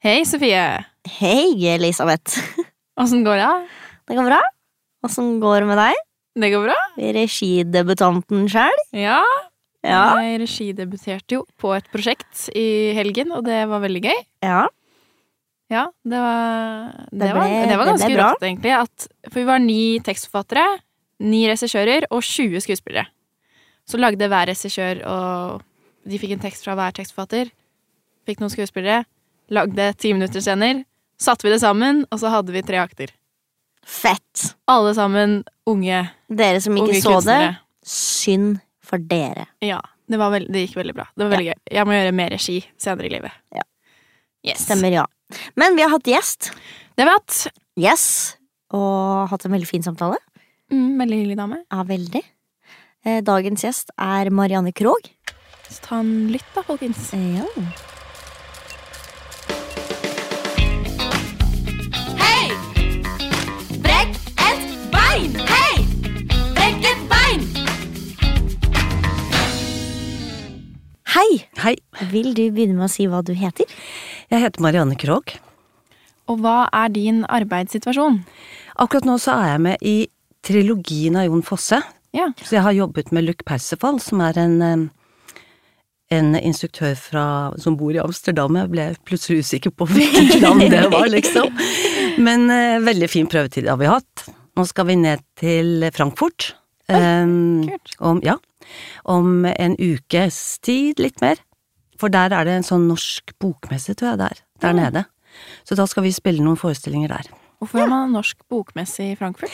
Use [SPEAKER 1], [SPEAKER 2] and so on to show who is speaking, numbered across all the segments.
[SPEAKER 1] Hei, Sofie.
[SPEAKER 2] Hei, Elisabeth.
[SPEAKER 1] Åssen går det?
[SPEAKER 2] Det går bra? Åssen går det med deg?
[SPEAKER 1] Det går bra?
[SPEAKER 2] Regidebutanten sjæl?
[SPEAKER 1] Ja.
[SPEAKER 2] Ja.
[SPEAKER 1] Jeg regidebuterte jo på et prosjekt i helgen, og det var veldig gøy.
[SPEAKER 2] ja.
[SPEAKER 1] Ja, det var, det
[SPEAKER 2] Det
[SPEAKER 1] var,
[SPEAKER 2] ble-
[SPEAKER 1] det var
[SPEAKER 2] det ble
[SPEAKER 1] ganske
[SPEAKER 2] bra.
[SPEAKER 1] rått, egentlig. At, for vi var ni tekstforfattere, ni regissører og 20 skuespillere. Så lagde hver regissør, og de fikk en tekst fra hver tekstforfatter. Fikk noen skuespillere. Lagde ti minutter scener. Satte vi det sammen, og så hadde vi tre akter.
[SPEAKER 2] Fett.
[SPEAKER 1] Alle sammen unge,
[SPEAKER 2] Dere som ikke
[SPEAKER 1] unge
[SPEAKER 2] så det,
[SPEAKER 1] kunstnere.
[SPEAKER 2] synd for dere.
[SPEAKER 1] Ja, det, var veld, det gikk veldig bra. Det var veldig gøy. Jeg må gjøre mer regi senere i livet.
[SPEAKER 2] Ja.
[SPEAKER 1] Yes.
[SPEAKER 2] Stemmer, ja. Men vi har hatt gjest.
[SPEAKER 1] Det har vi hatt.
[SPEAKER 2] Yes. Og hatt en veldig fin samtale.
[SPEAKER 1] Mm, veldig hyggelig dame.
[SPEAKER 2] Ja, veldig. Eh, Dagens gjest er Marianne Krogh.
[SPEAKER 1] Så ta en lytt da, folkens.
[SPEAKER 2] Ja.
[SPEAKER 3] Brekk et bein! Hei! Brekk et bein!
[SPEAKER 2] Hei!
[SPEAKER 4] Hei,
[SPEAKER 2] Vil du begynne med å si hva du heter?
[SPEAKER 4] jeg heter Marianne Krogh.
[SPEAKER 1] Og hva er din arbeidssituasjon?
[SPEAKER 4] Akkurat nå så er jeg med i trilogien av Jon Fosse.
[SPEAKER 1] Ja.
[SPEAKER 4] Så jeg har jobbet med Luc Perceval, som er en, eh, en instruktør fra, som bor i Amsterdam. Jeg ble plutselig usikker på hvilket land det var, liksom. Men eh, veldig fin prøvetid har vi hatt. Nå skal vi ned til Frankfurt. Em,
[SPEAKER 1] kult.
[SPEAKER 4] om, ja, om en ukes tid, litt mer. For der er det en sånn norsk bokmesse, tror jeg, der, der nede. Så da skal vi spille noen forestillinger der.
[SPEAKER 1] Hvorfor har man norsk bokmesse i Frankfurt?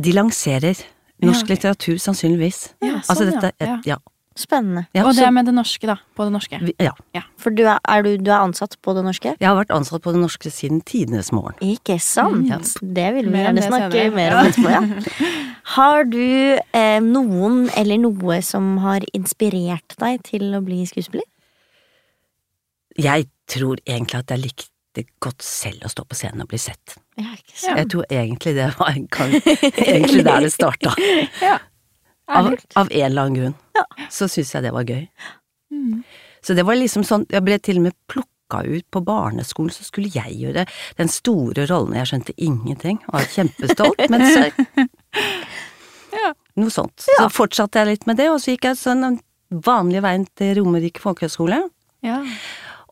[SPEAKER 4] De lanserer
[SPEAKER 1] Ja,
[SPEAKER 4] norsk
[SPEAKER 1] ok.
[SPEAKER 4] litteratur, sannsynligvis.
[SPEAKER 1] Ja,
[SPEAKER 4] altså
[SPEAKER 1] sånn, ja.
[SPEAKER 4] dette er- ja.
[SPEAKER 2] Spennende.
[SPEAKER 4] Ja,
[SPEAKER 1] og det
[SPEAKER 4] så
[SPEAKER 1] er med det norske, da. På det norske.
[SPEAKER 4] vi- ja.
[SPEAKER 2] For du er, er du, du er ansatt på det norske?
[SPEAKER 4] Jeg har vært ansatt på Det Norske siden tidenes morgen.
[SPEAKER 2] Ikke
[SPEAKER 3] Mm.
[SPEAKER 2] sant? Det vil vi
[SPEAKER 1] Mer om
[SPEAKER 2] gjerne
[SPEAKER 1] det
[SPEAKER 2] snakke
[SPEAKER 1] senere.
[SPEAKER 2] mer om etterpå. Ja. Har du eh, noen eller noe som har inspirert deg til å bli skuespiller?
[SPEAKER 4] Jeg tror egentlig at jeg likte godt selv å stå på scenen og bli sett.
[SPEAKER 2] Ja, ikke
[SPEAKER 1] Ja.
[SPEAKER 4] Jeg tror egentlig det var en gang, egentlig der det starta.
[SPEAKER 1] Ja.
[SPEAKER 4] Av,
[SPEAKER 1] Ærlig.
[SPEAKER 4] av en eller annen grunn. Så syns jeg det var gøy.
[SPEAKER 1] Mm.
[SPEAKER 4] Så det var liksom sånn, jeg ble til og med plukka ut på barneskolen, så skulle jeg gjøre den store rollen. Jeg skjønte ingenting, var kjempestolt, men så
[SPEAKER 1] Ja.
[SPEAKER 4] Noe sånt. Så fortsatte jeg litt med det, og så gikk jeg sånn den vanlige veien til Romerike folkehøgskole.
[SPEAKER 1] Ja.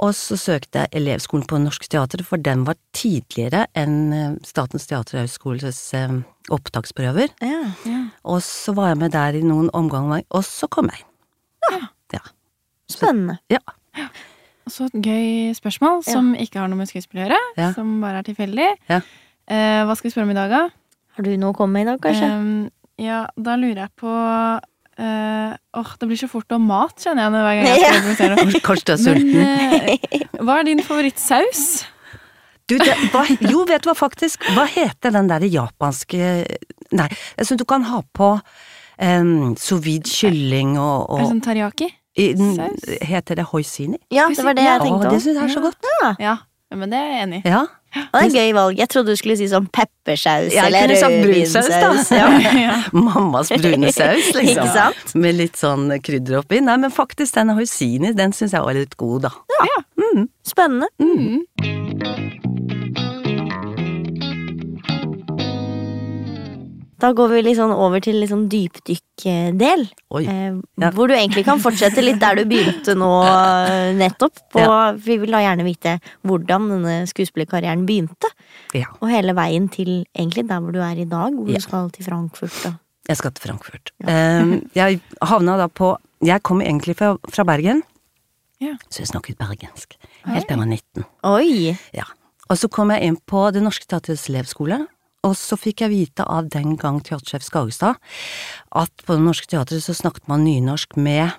[SPEAKER 4] Og så søkte jeg elevskolen på Norsk Teater, for den var tidligere enn eh, Statens teaterhøgskoles eh, opptaksprøver.
[SPEAKER 2] Ja.
[SPEAKER 4] Og så var jeg med der i noen omganger, og så kom jeg inn. Ja.
[SPEAKER 2] Spennende.
[SPEAKER 4] Ja.
[SPEAKER 1] Og så et gøy spørsmål som ikke har noe med skuespill å gjøre.
[SPEAKER 4] Ja.
[SPEAKER 1] Som bare er tilfeldig.
[SPEAKER 4] Ja.
[SPEAKER 1] Eh, hva skal vi spørre om i dag, da?
[SPEAKER 2] Har du noe å komme med i dag, kanskje?
[SPEAKER 1] Ehm, ja, da lurer jeg på eh, Åh, det blir så fort om mat, kjenner jeg nå hver gang jeg skal introdusere noe.
[SPEAKER 4] Kanskje du er sulten?
[SPEAKER 1] Men eh, hva er din favorittsaus?
[SPEAKER 4] Du, det, hva, jo, vet du hva, faktisk. Hva heter den derre japanske eh, Nei, jeg syns du kan ha på um, sous vide kylling
[SPEAKER 1] Er
[SPEAKER 4] og,
[SPEAKER 1] det
[SPEAKER 4] og
[SPEAKER 1] sånn teriyaki?
[SPEAKER 4] i, den-
[SPEAKER 1] saus?
[SPEAKER 4] Heter det hoisini?
[SPEAKER 2] Ja, det var det jeg
[SPEAKER 1] Ja.
[SPEAKER 4] Å,
[SPEAKER 2] tenkte
[SPEAKER 4] det
[SPEAKER 2] òg.
[SPEAKER 4] syns jeg er så
[SPEAKER 1] Ja.
[SPEAKER 4] godt.
[SPEAKER 1] Ja, men det er jeg enig i.
[SPEAKER 4] Ja.
[SPEAKER 2] Det er et gøy valg. Jeg trodde du skulle si sånn peppersaus
[SPEAKER 4] Jeg
[SPEAKER 2] eller
[SPEAKER 4] kunne sagt brunsaus, da.
[SPEAKER 2] rødvinsaus. Ja.
[SPEAKER 4] Mammas brune saus, liksom.
[SPEAKER 2] Ikke sant?
[SPEAKER 4] Med litt sånn krydder oppi. Nei, men faktisk, den hoisini, den syns jeg var litt god, da.
[SPEAKER 2] Spennende.
[SPEAKER 1] Mm.
[SPEAKER 2] Da går vi litt sånn over til litt sånn dypdykkdel.
[SPEAKER 4] Oi.
[SPEAKER 2] Eh,
[SPEAKER 4] Ja.
[SPEAKER 2] Hvor du egentlig kan fortsette litt der du begynte nå eh, nettopp. På, Vi vil da gjerne vite hvordan denne skuespillerkarrieren begynte.
[SPEAKER 4] Ja.
[SPEAKER 2] Og hele veien til egentlig der hvor du er i dag, hvor
[SPEAKER 4] Ja.
[SPEAKER 2] du skal til Frankfurt. Da.
[SPEAKER 4] Jeg skal til Frankfurt. Ehm, jeg havna da på Jeg kom egentlig fra, fra Bergen,
[SPEAKER 1] Ja.
[SPEAKER 4] så jeg snakket bergensk. Helt til jeg var 19.
[SPEAKER 2] Oi!
[SPEAKER 4] Ja. Og så kom jeg inn på Det Norske Teatrets elevskole, og så fikk jeg vite av den gang teatersjef Skagestad at på Det Norske Teatret så snakket man nynorsk med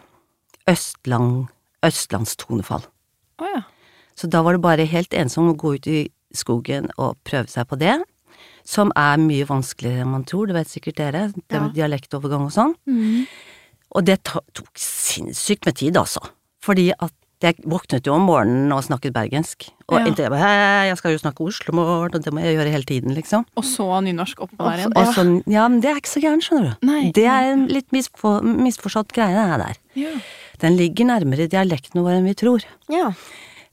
[SPEAKER 4] østlang, østlandstonefall.
[SPEAKER 1] Å ja.
[SPEAKER 4] Så da var det bare helt ensom å gå ut i skogen og prøve seg på det, som er mye vanskeligere enn man tror, det vet sikkert dere, det med dialektovergang og sånn.
[SPEAKER 1] Mm.
[SPEAKER 4] Og det ta- tok sinnssykt med tid, altså. Fordi at jeg våknet jo om morgenen og snakket bergensk. Og
[SPEAKER 1] Ja.
[SPEAKER 4] inntil jeg bare «Hei, jeg skal jo snakke oslomål, og det må jeg gjøre hele tiden, liksom.
[SPEAKER 1] Og så nynorsk oppå der igjen.
[SPEAKER 4] Og sånn, ja, men det er ikke så gærent, skjønner du.
[SPEAKER 1] Nei.
[SPEAKER 4] det er en litt misfor, misforstått greie, det her der.
[SPEAKER 1] Ja.
[SPEAKER 4] Den ligger nærmere dialektene våre enn vi tror.
[SPEAKER 2] Ja.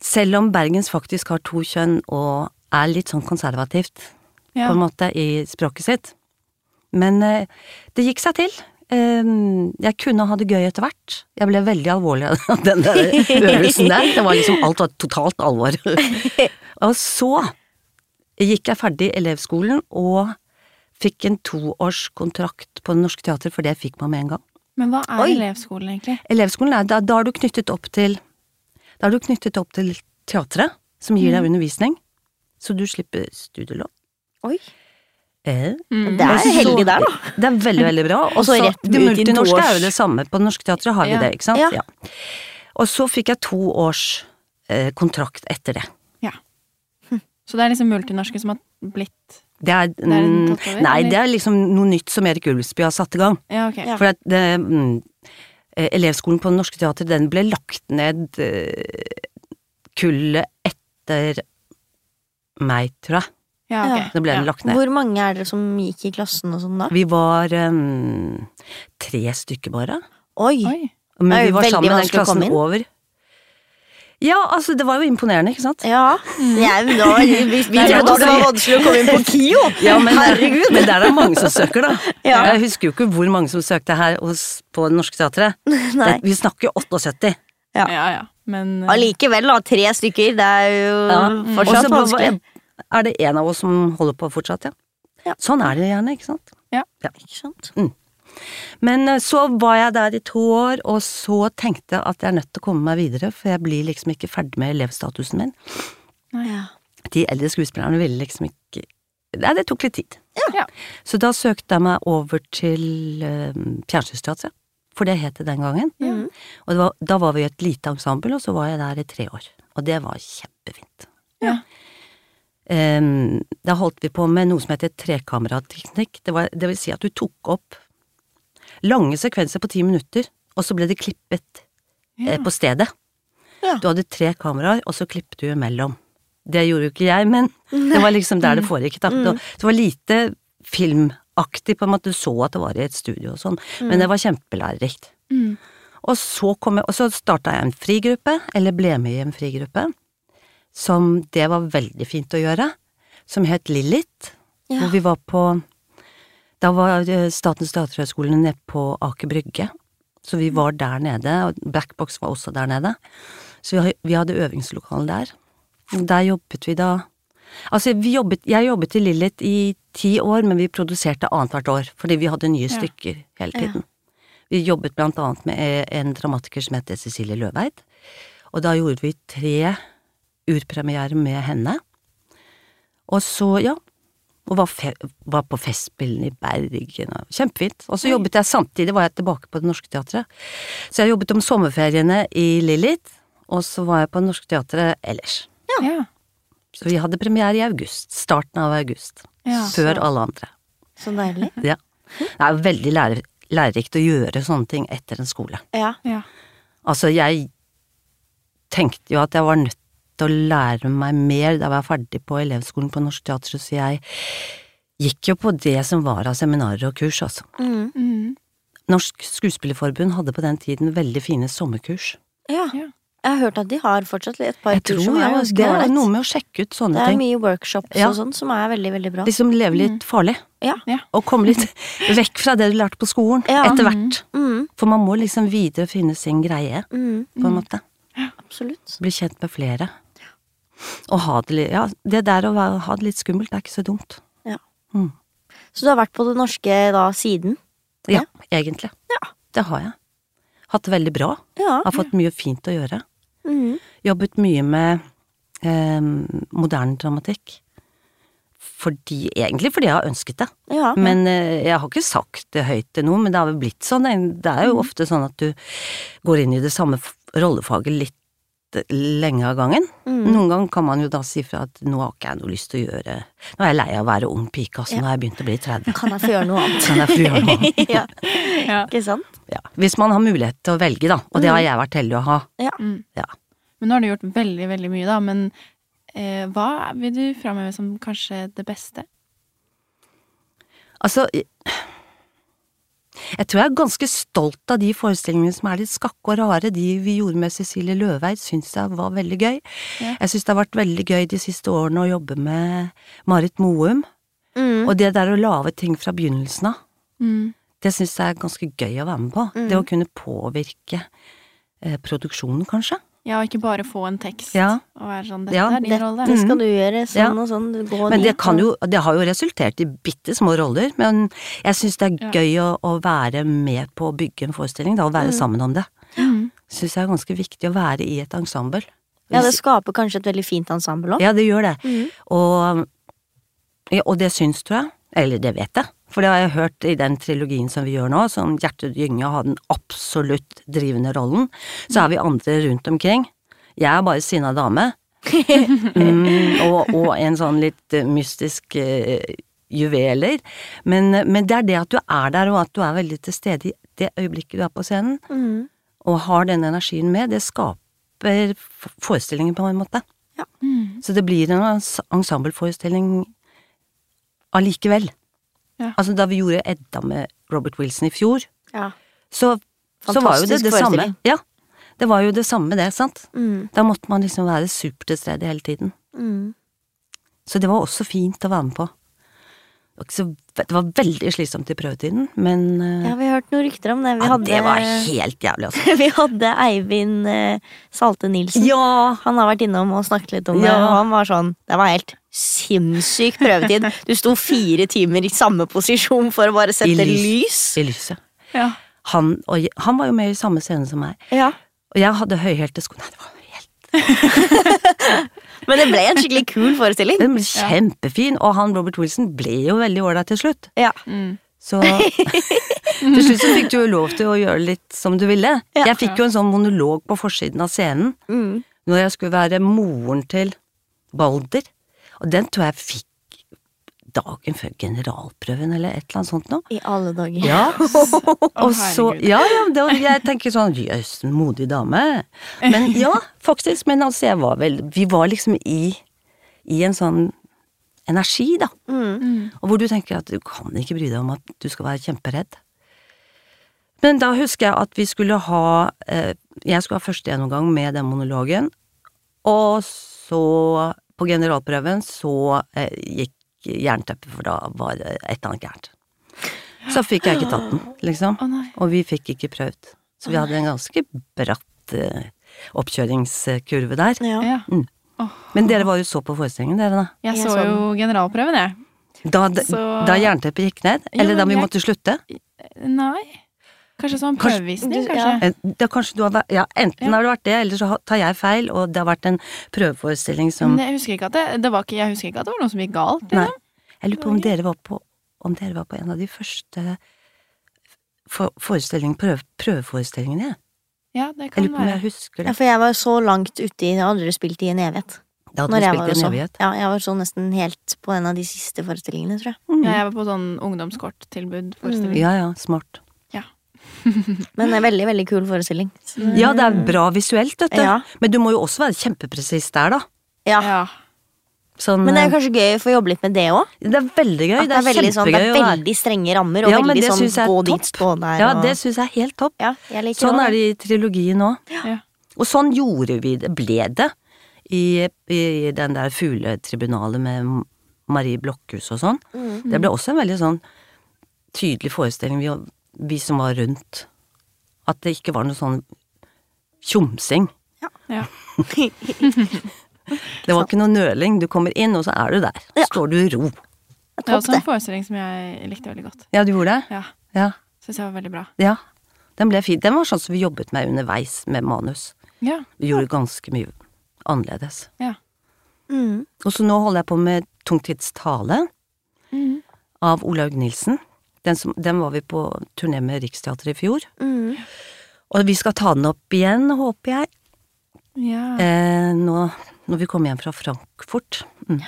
[SPEAKER 4] Selv om Bergens faktisk har to kjønn og er litt sånn konservativt
[SPEAKER 1] Ja.
[SPEAKER 4] på en måte i språket sitt. Men eh, det gikk seg til. Eh, jeg kunne ha det gøy etter hvert. Jeg ble veldig alvorlig av den der øvelsen der. Det var liksom alt var totalt alvor. og så gikk jeg ferdig elevskolen og fikk en toårskontrakt på Det Norske Teatret, for det fikk man med en gang.
[SPEAKER 1] Men hva er
[SPEAKER 4] Oi.
[SPEAKER 1] elevskolen, egentlig?
[SPEAKER 4] Elevskolen er, da, da er du knyttet opp til Da er du knyttet opp til teatret, som gir deg undervisning. Så du slipper studielån.
[SPEAKER 2] Oi.
[SPEAKER 4] Eh.
[SPEAKER 1] Mm.
[SPEAKER 2] Det er
[SPEAKER 4] Jeg synes
[SPEAKER 2] heldig
[SPEAKER 4] så-
[SPEAKER 2] der, da.
[SPEAKER 4] Det er veldig, veldig bra. Og
[SPEAKER 2] så
[SPEAKER 4] så
[SPEAKER 2] rett
[SPEAKER 4] det
[SPEAKER 2] ut i en
[SPEAKER 4] multinorske er
[SPEAKER 2] toårs-
[SPEAKER 4] jo det samme. På Det Norske Teatret har vi
[SPEAKER 1] Ja.
[SPEAKER 4] det, ikke sant.
[SPEAKER 2] Ja.
[SPEAKER 4] Og så fikk jeg to års eh, kontrakt etter det.
[SPEAKER 1] Så det er liksom multinorske som har blitt
[SPEAKER 4] Det er,
[SPEAKER 1] er en
[SPEAKER 4] mm,
[SPEAKER 1] tatt over,
[SPEAKER 4] nei,
[SPEAKER 1] eller?
[SPEAKER 4] det er liksom noe nytt som Erik Ulvsby har satt i gang.
[SPEAKER 1] Ja, ok.
[SPEAKER 2] Ja.
[SPEAKER 4] For at det, mm, eh, elevskolen på Det Norske Teatret, den ble lagt ned eh, kullet etter meg, tror jeg.
[SPEAKER 1] Ja, ok.
[SPEAKER 4] Da ble den lagt ned.
[SPEAKER 2] Hvor mange er dere som gikk i klassen og sånn da?
[SPEAKER 4] Vi var mm, tre stykker bare.
[SPEAKER 2] Oi!
[SPEAKER 1] Ja. Oi.
[SPEAKER 2] Det er
[SPEAKER 4] Men vi
[SPEAKER 2] jo
[SPEAKER 4] var
[SPEAKER 2] veldig
[SPEAKER 4] sammen den
[SPEAKER 2] vanskelig å komme
[SPEAKER 4] klassen
[SPEAKER 2] inn.
[SPEAKER 4] over. Ja, altså, det var jo imponerende, ikke sant?
[SPEAKER 2] Ja. Jeg, da, vi, vi
[SPEAKER 4] Nei, det
[SPEAKER 2] trodde
[SPEAKER 4] var
[SPEAKER 2] det var vanskelig å komme inn på KIO!
[SPEAKER 4] Ja, men,
[SPEAKER 2] Herregud.
[SPEAKER 4] men der er det mange som søker, da.
[SPEAKER 2] Ja.
[SPEAKER 4] Jeg husker jo ikke hvor mange som søkte her hos, på Det Norske Teatret.
[SPEAKER 2] Nei.
[SPEAKER 4] Det- Vi snakker jo 78.
[SPEAKER 2] Ja.
[SPEAKER 1] Ja, ja. Men eh,
[SPEAKER 2] Allikevel, da. Tre stykker. Det er jo
[SPEAKER 4] Og
[SPEAKER 2] fortsatt
[SPEAKER 4] så
[SPEAKER 2] vanskelig.
[SPEAKER 4] Er det en av oss som holder på fortsatt, ja.
[SPEAKER 2] Ja.
[SPEAKER 4] Sånn er det gjerne, ikke sant.
[SPEAKER 2] Ikke sant?
[SPEAKER 4] Men eh, så var jeg der i to år, og så tenkte jeg at jeg er nødt til å komme meg videre, for jeg blir liksom ikke ferdig med elevstatusen min.
[SPEAKER 2] Ja.
[SPEAKER 4] De eldre skuespillerne ville liksom ikke Nei, det tok litt tid.
[SPEAKER 1] eh, Ja.
[SPEAKER 4] Så da søkte jeg meg over til eh, Fjernsynsteatret, for det het det den gangen.
[SPEAKER 1] Ja.
[SPEAKER 4] Og det var, da var vi et lite ensemble, og så var jeg der i tre år. Og det var kjempefint.
[SPEAKER 1] Ja.
[SPEAKER 4] Em, da holdt vi på med noe som heter trekamerateknikk. Det, var- det vil si at du tok opp lange sekvenser på ti minutter, og så ble det klippet eh, på stedet.
[SPEAKER 2] Ja.
[SPEAKER 4] Du hadde tre kameraer, og så klippet du imellom. Det gjorde jo ikke jeg, men det var liksom der det foregikk. Da. Det var- Det var lite filmaktig, på en måte. Du så at det var i et studio og sånn. Men det var kjempelærerikt.
[SPEAKER 1] Mm.
[SPEAKER 4] Og så, kom jeg, og så starta jeg en frigruppe, eller ble med i en frigruppe, som det var veldig fint å gjøre, som het Lillit.
[SPEAKER 2] Ja.
[SPEAKER 4] Hvor vi var på Da var eh, Statens teaterhøgskole nede på Aker Brygge. Så vi var der nede, og Blackbox var også der nede. Så vi, ha- vi hadde øvingslokale der. Og der jobbet vi da Altså, vi jobbet, jeg jobbet i Lillit i ti år, men vi produserte annethvert år, fordi vi hadde nye
[SPEAKER 1] Ja.
[SPEAKER 4] stykker hele tiden. Vi jobbet blant annet med eh, en dramatiker som heter Cecilie Løveid. Og da gjorde vi tre urpremierer med henne. Og så, ja Og var, fe var på Festspillene i Bergen og Kjempefint. Og så jobbet jeg samtidig, var jeg tilbake på Det Norske Teatret. Så jeg jobbet om sommerferiene i Lillit, og så var jeg på Det Norske Teatret ellers.
[SPEAKER 1] Ja.
[SPEAKER 4] Så vi hadde premiere i august. Starten av august.
[SPEAKER 1] Ja.
[SPEAKER 4] Før alle andre.
[SPEAKER 2] Så deilig.
[SPEAKER 4] Ja. Det er veldig lærer lærerikt å gjøre sånne ting etter en skole.
[SPEAKER 2] Ja.
[SPEAKER 1] Ja.
[SPEAKER 4] Altså, jeg tenkte jo at jeg var nødt til å lære meg mer da jeg var ferdig på elevskolen på Norsk Teater, så jeg gikk jo på det som var av seminarer og kurs, altså.
[SPEAKER 2] Mm.
[SPEAKER 1] Mm.
[SPEAKER 4] Norsk Skuespillerforbund hadde på den tiden veldig fine sommerkurs.
[SPEAKER 2] ja.
[SPEAKER 1] Ja.
[SPEAKER 2] Jeg har hørt at de har fortsatt et par
[SPEAKER 4] Jeg
[SPEAKER 2] kurs
[SPEAKER 4] tror
[SPEAKER 2] som
[SPEAKER 4] ja,
[SPEAKER 2] er
[SPEAKER 4] det
[SPEAKER 2] ganske
[SPEAKER 4] er
[SPEAKER 2] ålreit.
[SPEAKER 4] noe med å sjekke ut sånne
[SPEAKER 2] Det er
[SPEAKER 4] ting.
[SPEAKER 2] mye Mm. workshops
[SPEAKER 4] Ja.
[SPEAKER 2] og sånn som er veldig, veldig bra.
[SPEAKER 4] Liksom leve litt farlig.
[SPEAKER 2] Ja.
[SPEAKER 1] Ja.
[SPEAKER 4] Og komme litt vekk fra det du lærte på skolen,
[SPEAKER 2] Ja.
[SPEAKER 4] etter hvert.
[SPEAKER 2] Mm.
[SPEAKER 4] For man må liksom videre finne sin greie,
[SPEAKER 2] Mm.
[SPEAKER 4] på en måte.
[SPEAKER 2] Absolutt.
[SPEAKER 4] Bli kjent med flere. Og ha det litt Ja, det der å være- ha det litt skummelt er ikke så dumt.
[SPEAKER 2] Så du har vært på det norske da siden?
[SPEAKER 4] Ja, egentlig. Det har jeg. Hatt det veldig bra.
[SPEAKER 2] Ja.
[SPEAKER 4] Har fått mye fint å gjøre.
[SPEAKER 2] Mm.
[SPEAKER 4] Jobbet mye med eh, moderne dramatikk. Fordi, egentlig fordi jeg har ønsket det.
[SPEAKER 2] ja.
[SPEAKER 4] Men eh, jeg har ikke sagt det høyt til noen, men det har vel blitt sånn. Det er jo ofte sånn at du går inn i det samme f- rollefaget litt eh, lenge av gangen.
[SPEAKER 2] Mm.
[SPEAKER 4] Noen gang kan man jo da si fra at nå har ikke jeg noe lyst til å gjøre Nå er jeg lei av å være ung pike, altså. Nå har jeg begynt å bli 30.
[SPEAKER 2] Kan jeg få gjøre noe annet?
[SPEAKER 4] Kan jeg få gjøre noe annet?
[SPEAKER 2] ja.
[SPEAKER 1] Ja.
[SPEAKER 2] Ikke sant?
[SPEAKER 4] Ja. Hvis man har mulighet til å velge, da. Og det har jeg vært heldig å ha.
[SPEAKER 1] Mm.
[SPEAKER 4] Ja.
[SPEAKER 1] Men nå har du gjort veldig, veldig mye, da. Men eh, hva vil du framheve som kanskje det beste?
[SPEAKER 4] Altså i- Jeg tror jeg er ganske stolt av de forestillingene som er litt skakke og rare. De vi gjorde med Cecilie Løveid, syns jeg var veldig gøy.
[SPEAKER 1] Ja.
[SPEAKER 4] Jeg syns det har vært veldig gøy de siste årene å jobbe med Marit Moum.
[SPEAKER 2] Mm.
[SPEAKER 4] Og det der å lage ting fra begynnelsen av,
[SPEAKER 1] Mm.
[SPEAKER 4] det syns jeg er ganske gøy å være med på. Det å kunne påvirke eh, produksjonen, kanskje.
[SPEAKER 1] Ja, og ikke bare få en tekst
[SPEAKER 4] Ja.
[SPEAKER 1] og være sånn 'Dette
[SPEAKER 4] Ja,
[SPEAKER 1] er din
[SPEAKER 2] Dette
[SPEAKER 1] rolle'.
[SPEAKER 4] Mm.
[SPEAKER 2] skal du gjøre, sånn
[SPEAKER 4] Ja.
[SPEAKER 2] og sånn. Gå
[SPEAKER 4] Men det
[SPEAKER 2] dit,
[SPEAKER 4] kan
[SPEAKER 2] og-
[SPEAKER 4] jo Det har jo resultert i bitte små roller, men jeg syns det
[SPEAKER 1] Ja.
[SPEAKER 4] er gøy å, å være med på å bygge en forestilling, da, og være sammen om det.
[SPEAKER 1] Mm.
[SPEAKER 4] Syns jeg er ganske viktig å være i et ensemble.
[SPEAKER 2] Ja, det skaper kanskje et veldig fint ensemble òg.
[SPEAKER 4] Ja, det gjør det. Og, ja, og det syns, tror jeg. Eller det vet jeg. For det har jeg hørt i den trilogien som vi gjør nå, som Gjertrud Gynge har den absolutt drivende rollen. Så er vi andre rundt omkring. Jeg er bare sinna dame. Mm, og, og en sånn litt eh, mystisk eh, juveler. Men, eh, men det er det at du er der, og at du er veldig til stede i det øyeblikket du er på scenen,
[SPEAKER 2] Mm.
[SPEAKER 4] og har den energien med, det skaper f- forestillingen på en måte.
[SPEAKER 1] Mm.
[SPEAKER 4] Så det blir en ens- ensembleforestilling allikevel.
[SPEAKER 1] Ja.
[SPEAKER 4] Altså, da vi gjorde Edda med Robert Wilson i fjor,
[SPEAKER 2] Ja.
[SPEAKER 4] så, så var jo det
[SPEAKER 2] Fantastisk
[SPEAKER 4] det samme.
[SPEAKER 2] forestilling.
[SPEAKER 4] Ja, det var jo det samme, det, sant?
[SPEAKER 2] Mm.
[SPEAKER 4] Da måtte man liksom være super til stede hele tiden.
[SPEAKER 2] Mm.
[SPEAKER 4] Så det var også fint å være med på. Det var, ikke så, det var veldig slitsomt i prøvetiden, men eh,
[SPEAKER 2] ja, vi har hørt noen rykter om det. Vi
[SPEAKER 4] ja,
[SPEAKER 2] hadde,
[SPEAKER 4] Det var helt jævlig, altså.
[SPEAKER 2] vi hadde Eivind eh, Salte Nilsen.
[SPEAKER 4] Ja!
[SPEAKER 2] Han har vært innom og snakket litt om det,
[SPEAKER 4] Ja.
[SPEAKER 2] og han var sånn Det var helt sinnssyk prøvetid. Du sto fire timer i samme posisjon for å bare sette lys.
[SPEAKER 4] I lyset.
[SPEAKER 1] Ja.
[SPEAKER 4] Han, og, jeg- han var jo med i samme scene som meg.
[SPEAKER 2] Ja.
[SPEAKER 4] Og jeg hadde høyhælte sko. Nei, det var helt
[SPEAKER 2] Men det ble en skikkelig kul forestilling.
[SPEAKER 4] Den ble kjempefin, og han Robert Wilson ble jo veldig ålreit til slutt.
[SPEAKER 2] Ja.
[SPEAKER 1] Mm.
[SPEAKER 4] Så til slutt så fikk du jo lov til å gjøre litt som du ville.
[SPEAKER 2] Ja.
[SPEAKER 4] Jeg fikk jo en sånn monolog på forsiden av scenen
[SPEAKER 2] Mm.
[SPEAKER 4] når jeg skulle være moren til Balder, og den tror jeg fikk dagen før generalprøven eller et eller annet sånt noe.
[SPEAKER 2] I alle dager.
[SPEAKER 4] Ja. og så,
[SPEAKER 1] herregud.
[SPEAKER 4] ja, ja, det var, jeg tenker sånn jøss, en modig dame. Men ja, faktisk. Men altså, jeg var vel Vi var liksom i, i en sånn energi, da.
[SPEAKER 2] Mm.
[SPEAKER 1] Mm.
[SPEAKER 4] Og hvor du tenker at du kan ikke bry deg om at du skal være kjemperedd. Men da husker jeg at vi skulle ha eh, Jeg skulle ha første gjennomgang med den monologen. Og så, på generalprøven, så eh, gikk jernteppet, for da var det et eller annet gærent. Så fikk jeg ikke tatt den, liksom.
[SPEAKER 1] Å, nei.
[SPEAKER 4] og vi fikk ikke prøvd. Så vi hadde en ganske bratt eh, oppkjøringskurve der.
[SPEAKER 2] Ja.
[SPEAKER 1] ja.
[SPEAKER 4] Mm. Men dere var jo så på forestillingen, dere, da.
[SPEAKER 1] Jeg
[SPEAKER 2] Jeg
[SPEAKER 1] så
[SPEAKER 2] så
[SPEAKER 1] jo generalprøven, jeg.
[SPEAKER 4] sånn- Da, d-
[SPEAKER 1] Så-
[SPEAKER 4] da jernteppet gikk ned?
[SPEAKER 1] Ja,
[SPEAKER 4] Eller da
[SPEAKER 1] men
[SPEAKER 4] vi
[SPEAKER 1] jeg-
[SPEAKER 4] måtte slutte?
[SPEAKER 1] Nei. Kanskje sånn
[SPEAKER 4] Kanskje-
[SPEAKER 1] prøvevisning,
[SPEAKER 2] Du-
[SPEAKER 1] kanskje.
[SPEAKER 4] Eh, Da kanskje du har vært, ja, enten
[SPEAKER 1] Ja.
[SPEAKER 4] har det vært det, eller så har- tar jeg feil, og det har vært en prøveforestilling som
[SPEAKER 1] Men jeg husker ikke at det, det var ikke, jeg husker ikke at det var noe som gikk galt.
[SPEAKER 4] Nei.
[SPEAKER 1] Liksom.
[SPEAKER 4] Jeg lurer på om dere var på, om dere var på en av de første for, forestillingene, prøv, prøveforestillingene, jeg.
[SPEAKER 1] Ja, det
[SPEAKER 4] Jeg
[SPEAKER 1] kan
[SPEAKER 4] lurer på om
[SPEAKER 1] være.
[SPEAKER 4] jeg husker
[SPEAKER 2] Ja,
[SPEAKER 4] det.
[SPEAKER 2] for jeg var så langt ute i Jeg hadde aldri spilt i en evighet.
[SPEAKER 4] Da hadde
[SPEAKER 2] Når
[SPEAKER 4] vi
[SPEAKER 2] jeg var
[SPEAKER 4] spilt i
[SPEAKER 2] også.
[SPEAKER 4] en evighet.
[SPEAKER 2] Ja, jeg var så nesten helt på en av de siste forestillingene, tror jeg.
[SPEAKER 1] Ja, jeg var på sånn
[SPEAKER 4] Mm.
[SPEAKER 1] ungdomskorttilbud. forestilling.
[SPEAKER 4] Ja ja, smart.
[SPEAKER 2] Men en veldig, veldig kul forestilling.
[SPEAKER 4] Ja, det er bra visuelt, vet du.
[SPEAKER 2] Ja.
[SPEAKER 4] Men du må jo også være kjempepresis der, da.
[SPEAKER 2] Ja.
[SPEAKER 1] Ja.
[SPEAKER 4] Sånn,
[SPEAKER 2] Men det er
[SPEAKER 4] eh,
[SPEAKER 2] kanskje gøy å få jobbe litt med det òg.
[SPEAKER 4] det er veldig gøy.
[SPEAKER 2] At
[SPEAKER 4] Det er,
[SPEAKER 2] veldig, sånn, det
[SPEAKER 4] kjempegøy
[SPEAKER 2] er
[SPEAKER 4] å være
[SPEAKER 2] veldig strenge rammer, og
[SPEAKER 4] Ja, men
[SPEAKER 2] veldig
[SPEAKER 4] det
[SPEAKER 2] sånn
[SPEAKER 4] synes jeg er
[SPEAKER 2] gå
[SPEAKER 4] topp.
[SPEAKER 2] dit, stå der
[SPEAKER 4] Ja,
[SPEAKER 2] og
[SPEAKER 4] det syns jeg er helt topp.
[SPEAKER 2] Ja, jeg liker
[SPEAKER 4] Sånn
[SPEAKER 2] det.
[SPEAKER 4] er det i trilogien òg.
[SPEAKER 1] ja.
[SPEAKER 4] Og sånn gjorde vi det, ble det, i, i den der fugletribunalet med Marie Blokhus og sånn.
[SPEAKER 2] Mm.
[SPEAKER 4] Det ble også en veldig sånn tydelig forestilling, vi, vi som var rundt. At det ikke var noe sånn tjomsing.
[SPEAKER 1] ja.
[SPEAKER 4] Det var ikke noe nøling. Du kommer inn, og så er du der.
[SPEAKER 2] Ja.
[SPEAKER 4] Står du i ro.
[SPEAKER 1] Det var
[SPEAKER 2] Topp,
[SPEAKER 1] også
[SPEAKER 4] sånn.
[SPEAKER 2] det.
[SPEAKER 1] en forestilling som jeg likte veldig godt.
[SPEAKER 4] Ja, du gjorde det?
[SPEAKER 1] Ja,
[SPEAKER 4] Ja.
[SPEAKER 1] Syns jeg var veldig bra.
[SPEAKER 4] ja. Den ble fin. Den var sånn som vi jobbet med underveis, med manus.
[SPEAKER 1] Ja.
[SPEAKER 4] Vi gjorde ganske mye annerledes.
[SPEAKER 1] ja.
[SPEAKER 2] Mm.
[SPEAKER 4] Og så nå holder jeg på med Tungtids tale
[SPEAKER 1] Mhm.
[SPEAKER 4] av Olaug Nilsen. Den, som, den var vi på turné med Riksteatret i fjor.
[SPEAKER 2] Mm.
[SPEAKER 4] Og vi skal ta den opp igjen, håper jeg,
[SPEAKER 1] ja.
[SPEAKER 4] eh, nå, når vi kommer hjem fra Frankfurt. Mm.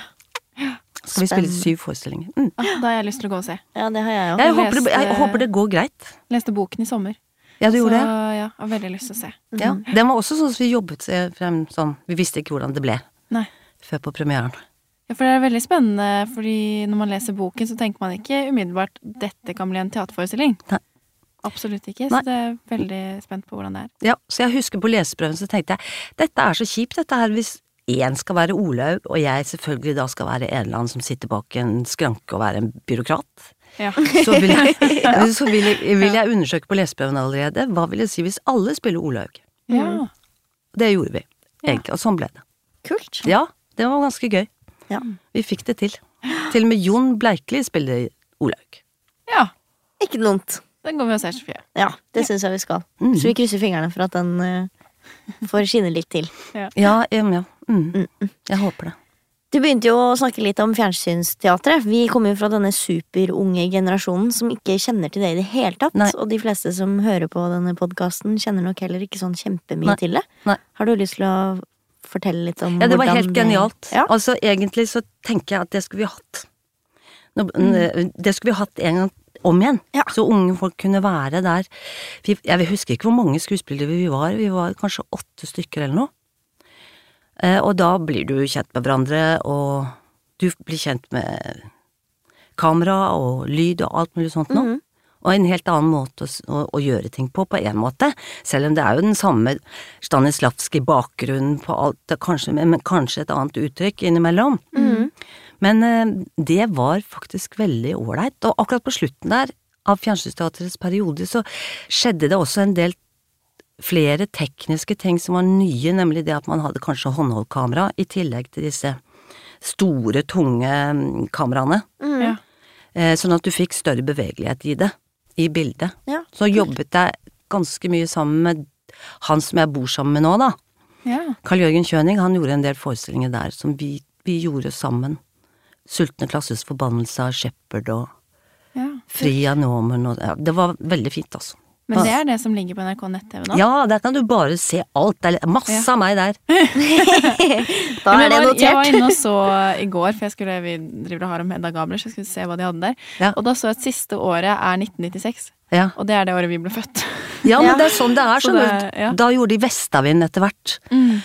[SPEAKER 4] Skal vi spille
[SPEAKER 2] Spennende.
[SPEAKER 4] syv forestillinger. Mm.
[SPEAKER 1] Ah, da har jeg lyst til å gå og se.
[SPEAKER 2] Ja, det har jeg òg.
[SPEAKER 4] Jeg,
[SPEAKER 1] leste-
[SPEAKER 4] håper det, jeg håper det går greit.
[SPEAKER 1] Leste boken i sommer.
[SPEAKER 4] Ja, du gjorde det?
[SPEAKER 1] Så ja, har veldig lyst til å se.
[SPEAKER 4] Ja. Den var også sånn som vi jobbet eh, frem sånn. Vi visste ikke hvordan det ble
[SPEAKER 1] Nei.
[SPEAKER 4] før på premieren.
[SPEAKER 1] Ja, for det er veldig spennende, fordi når man leser boken, så tenker man ikke umiddelbart 'dette kan bli en teaterforestilling'.
[SPEAKER 4] Nei.
[SPEAKER 1] Absolutt ikke,
[SPEAKER 4] Nei.
[SPEAKER 1] så det er veldig spent på hvordan det er.
[SPEAKER 4] Ja, så jeg husker på leseprøven så tenkte jeg dette er så kjipt dette her hvis én skal være Olaug, og jeg selvfølgelig da skal være en eller annen som sitter bak en skranke og være en byråkrat.
[SPEAKER 1] Ja.
[SPEAKER 4] Så vil jeg, så vil jeg, vil jeg undersøke på leseprøven allerede hva vil det si hvis alle spiller Olaug.
[SPEAKER 1] ja.
[SPEAKER 4] Mm. Det gjorde vi, egentlig, og sånn ble det.
[SPEAKER 2] Kult.
[SPEAKER 4] Ja, det var ganske gøy.
[SPEAKER 2] Ja.
[SPEAKER 4] Vi fikk det til. Til og med Jon Bleikli spiller Olaug.
[SPEAKER 1] Ja,
[SPEAKER 2] Ikke dumt.
[SPEAKER 1] den går vi og ser, Sofie.
[SPEAKER 2] Ja, det syns jeg vi skal.
[SPEAKER 4] Mhm.
[SPEAKER 2] Så vi krysser fingrene for at den eh, får skinne litt til.
[SPEAKER 4] Ja, em, ja. Mm. Jeg håper det.
[SPEAKER 2] Du begynte jo å snakke litt om fjernsynsteatret. Vi kommer jo fra denne superunge generasjonen som ikke kjenner til det i det hele tatt.
[SPEAKER 4] Nei.
[SPEAKER 2] Og de fleste som hører på denne podkasten, kjenner nok heller ikke sånn kjempemye
[SPEAKER 4] Nei.
[SPEAKER 2] til det.
[SPEAKER 4] Nei.
[SPEAKER 2] Har du lyst til å fortelle litt om
[SPEAKER 4] Ja, det var
[SPEAKER 2] hvordan
[SPEAKER 4] helt genialt.
[SPEAKER 2] Ja.
[SPEAKER 4] Altså, egentlig så tenker jeg at det skulle vi hatt. Nå- Det skulle vi hatt en gang om igjen.
[SPEAKER 2] Mm. Ja.
[SPEAKER 4] Så unge folk kunne være der. Vi, jeg husker ikke hvor mange skuespillere vi var. Vi var kanskje åtte stykker eller noe. Eh, Og da blir du kjent med hverandre, og du blir kjent med kamera og lyd og alt mulig sånt
[SPEAKER 2] Mm.
[SPEAKER 4] nå. Og en helt annen måte å, s- å, å gjøre ting på, på en måte. Selv om det er jo den samme Stanislavskij-bakgrunnen på alt, det er kanskje, men men kanskje et annet uttrykk innimellom. Men eh, det var faktisk veldig ålreit. Og akkurat på slutten der av Fjernsynsteatrets periode så skjedde det også en del flere tekniske ting som var nye, nemlig det at man hadde kanskje håndholdkamera i tillegg til disse store, tunge mm, kameraene.
[SPEAKER 1] Ja.
[SPEAKER 4] Eh, Sånn at du fikk større bevegelighet i det, i bildet.
[SPEAKER 2] Ja,
[SPEAKER 4] Så jobbet jeg ganske mye sammen med han som jeg bor sammen med nå, da.
[SPEAKER 1] Ja.
[SPEAKER 4] Carl Jørgen Kjøning, han gjorde en del forestillinger der som vi, vi gjorde sammen. Sultne klassers forbannelse av Shepherd og
[SPEAKER 1] ja.
[SPEAKER 4] Fri av Norman og ja, Det var veldig fint, altså.
[SPEAKER 1] Men det er det som ligger på NRK nett-TV nå?
[SPEAKER 4] Ja, der kan du bare se alt. Det er masse
[SPEAKER 1] Ja.
[SPEAKER 4] av meg der.
[SPEAKER 2] Da
[SPEAKER 1] Men jeg,
[SPEAKER 2] er det
[SPEAKER 1] var, jeg var
[SPEAKER 2] notert.
[SPEAKER 1] inne og så i går, for jeg skulle, vi driver og har om Hedda Gabler, så jeg skulle se hva de hadde der.
[SPEAKER 4] Ja.
[SPEAKER 1] Og da så jeg at siste året er 1996,
[SPEAKER 4] Ja.
[SPEAKER 1] og det er det året vi ble født.
[SPEAKER 4] Ja, men
[SPEAKER 2] Ja.
[SPEAKER 4] det er sånn det er.
[SPEAKER 1] Så
[SPEAKER 4] skjønner
[SPEAKER 1] det-
[SPEAKER 4] du.
[SPEAKER 1] ja.
[SPEAKER 4] Da gjorde de Vestavind etter hvert,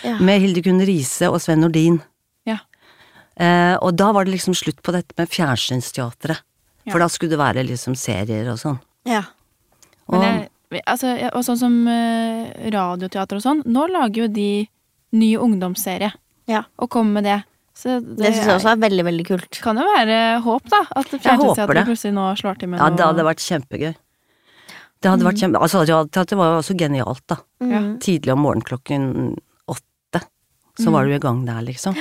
[SPEAKER 2] Ja.
[SPEAKER 4] med Hildegunn Riise og Sven Nordin.
[SPEAKER 1] Ja.
[SPEAKER 4] Eh, og da var det liksom slutt på dette med fjernsynsteatret.
[SPEAKER 1] Ja.
[SPEAKER 4] For da skulle det være liksom serier og sånn.
[SPEAKER 2] Ja.
[SPEAKER 1] Men
[SPEAKER 4] Og-
[SPEAKER 1] jeg, vi- altså, jeg, og sånn som eh, radioteater og sånn, nå lager jo de ny ungdomsserie
[SPEAKER 2] ja.
[SPEAKER 1] og kommer med det. Så det,
[SPEAKER 2] Det syns jeg også er veldig, veldig kult.
[SPEAKER 1] kan jo være håp, da. At
[SPEAKER 4] håper det.
[SPEAKER 1] fjernsynsteatret plutselig nå slår til med
[SPEAKER 4] Ja, det hadde vært kjempegøy. Det hadde vært kjempe... Altså, Radioteater var jo også genialt, da.
[SPEAKER 1] ja.
[SPEAKER 2] Mm,
[SPEAKER 4] Tidlig om morgenen klokken åtte,
[SPEAKER 1] Mm.
[SPEAKER 4] så var du i gang der, liksom.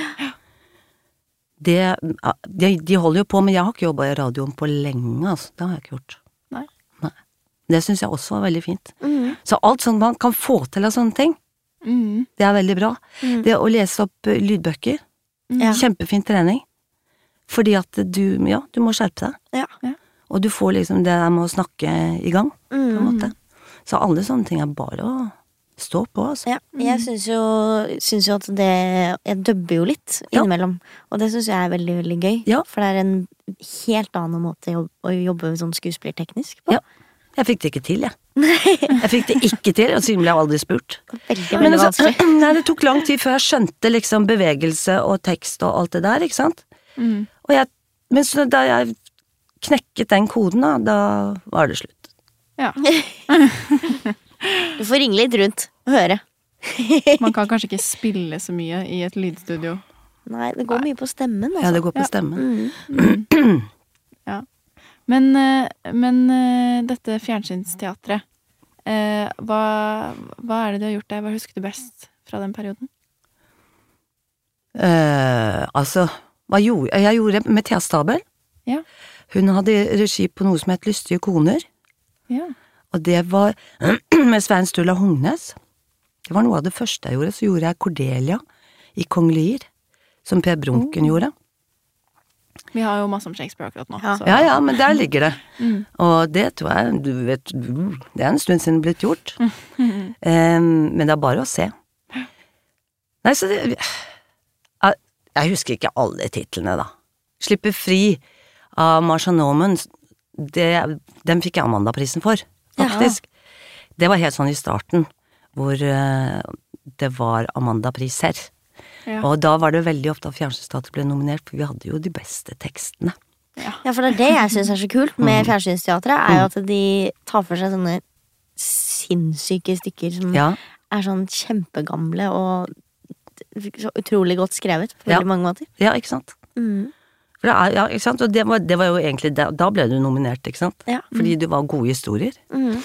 [SPEAKER 4] Det ja, de, de holder jo på, men jeg har ikke jobba i radioen på lenge, altså. Det har jeg ikke gjort.
[SPEAKER 1] Nei.
[SPEAKER 4] Nei. Det syns jeg også var veldig fint.
[SPEAKER 2] mm,
[SPEAKER 4] Så alt sånt man kan få til av sånne ting,
[SPEAKER 1] Mm,
[SPEAKER 4] det er veldig bra.
[SPEAKER 2] mm,
[SPEAKER 4] Det å lese opp eh, lydbøker,
[SPEAKER 1] mm,
[SPEAKER 2] Ja.
[SPEAKER 4] kjempefin trening. Fordi at du, ja, du må skjerpe deg.
[SPEAKER 2] Ja.
[SPEAKER 4] Og du får liksom det der med å snakke i gang, på en
[SPEAKER 2] Mm.
[SPEAKER 4] måte. Så alle sånne ting er bare å stå på, altså.
[SPEAKER 2] Ja, jeg syns jo, syns jo at det Jeg dubber jo litt
[SPEAKER 4] Ja.
[SPEAKER 2] innimellom. Og det syns jeg er veldig veldig gøy.
[SPEAKER 4] Ja.
[SPEAKER 2] For det er en helt annen måte å jobb- å jobbe sånn skuespillerteknisk på.
[SPEAKER 4] Ja. Jeg fikk det ikke til, jeg. Jeg fikk det ikke til, og siden ble jeg aldri spurt.
[SPEAKER 2] Veldig,
[SPEAKER 4] Men
[SPEAKER 2] veldig
[SPEAKER 4] altså,
[SPEAKER 2] vanskelig.
[SPEAKER 4] nei, det tok lang tid før jeg skjønte liksom bevegelse og tekst og alt det der, ikke sant?
[SPEAKER 1] mm.
[SPEAKER 4] Og jeg, men så da jeg knekket den koden, da, da var det slutt.
[SPEAKER 1] ja.
[SPEAKER 2] Du får ringe litt rundt og høre.
[SPEAKER 1] Man kan kanskje ikke spille så mye i et lydstudio.
[SPEAKER 2] Nei, det går mye på stemmen,
[SPEAKER 4] Ja,
[SPEAKER 2] altså.
[SPEAKER 4] det går på stemmen.
[SPEAKER 2] Mm.
[SPEAKER 1] Men, eh, men eh, dette fjernsynsteatret, eh, hva, hva er det du har gjort der? Hva husker du best fra den perioden?
[SPEAKER 4] Eh, altså, hva gjorde jeg? Jeg gjorde med Thea Stabel.
[SPEAKER 1] Ja.
[SPEAKER 4] Hun hadde regi på noe som het Lystige koner,
[SPEAKER 1] Ja.
[SPEAKER 4] og det var med Svein Sturla Hognes. Det var noe av det første jeg gjorde. Så gjorde jeg Cordelia i Kong Lear, som Per Brunken gjorde.
[SPEAKER 1] Vi har jo masse om Shakespeare akkurat nå.
[SPEAKER 2] Ja.
[SPEAKER 1] så-
[SPEAKER 4] Ja ja, men der ligger det.
[SPEAKER 1] Mm.
[SPEAKER 4] Og det tror jeg du vet, mm, Det er en stund siden det er blitt gjort.
[SPEAKER 1] Mm.
[SPEAKER 4] Eh, men det er bare å se. Nei, så det Jeg, jeg husker ikke alle titlene, da. Slippe fri av Marsha Norman, det, den fikk jeg Amanda-prisen for, faktisk. Det var helt sånn i starten, hvor eh, det var Amanda-priser.
[SPEAKER 1] Ja.
[SPEAKER 4] Og da var det veldig ofte at Fjernsynsstaten ble nominert, for vi hadde jo de beste tekstene. Mhm.
[SPEAKER 2] Ja, for det er det jeg syns er så kult med fjernsynsteatret, er jo at de tar for seg sånne sinnssyke stykker som
[SPEAKER 1] Mm.
[SPEAKER 4] Ja.
[SPEAKER 2] er sånn kjempegamle og så utrolig godt skrevet på
[SPEAKER 4] Ja.
[SPEAKER 2] veldig mange måter.
[SPEAKER 4] ja, ikke sant?
[SPEAKER 2] Mm.
[SPEAKER 4] For det er, ja, ikke sant? Og det var, det var jo egentlig da, da ble du nominert, ikke sant?
[SPEAKER 2] Ja.
[SPEAKER 4] Fordi du var gode historier.
[SPEAKER 2] Mm.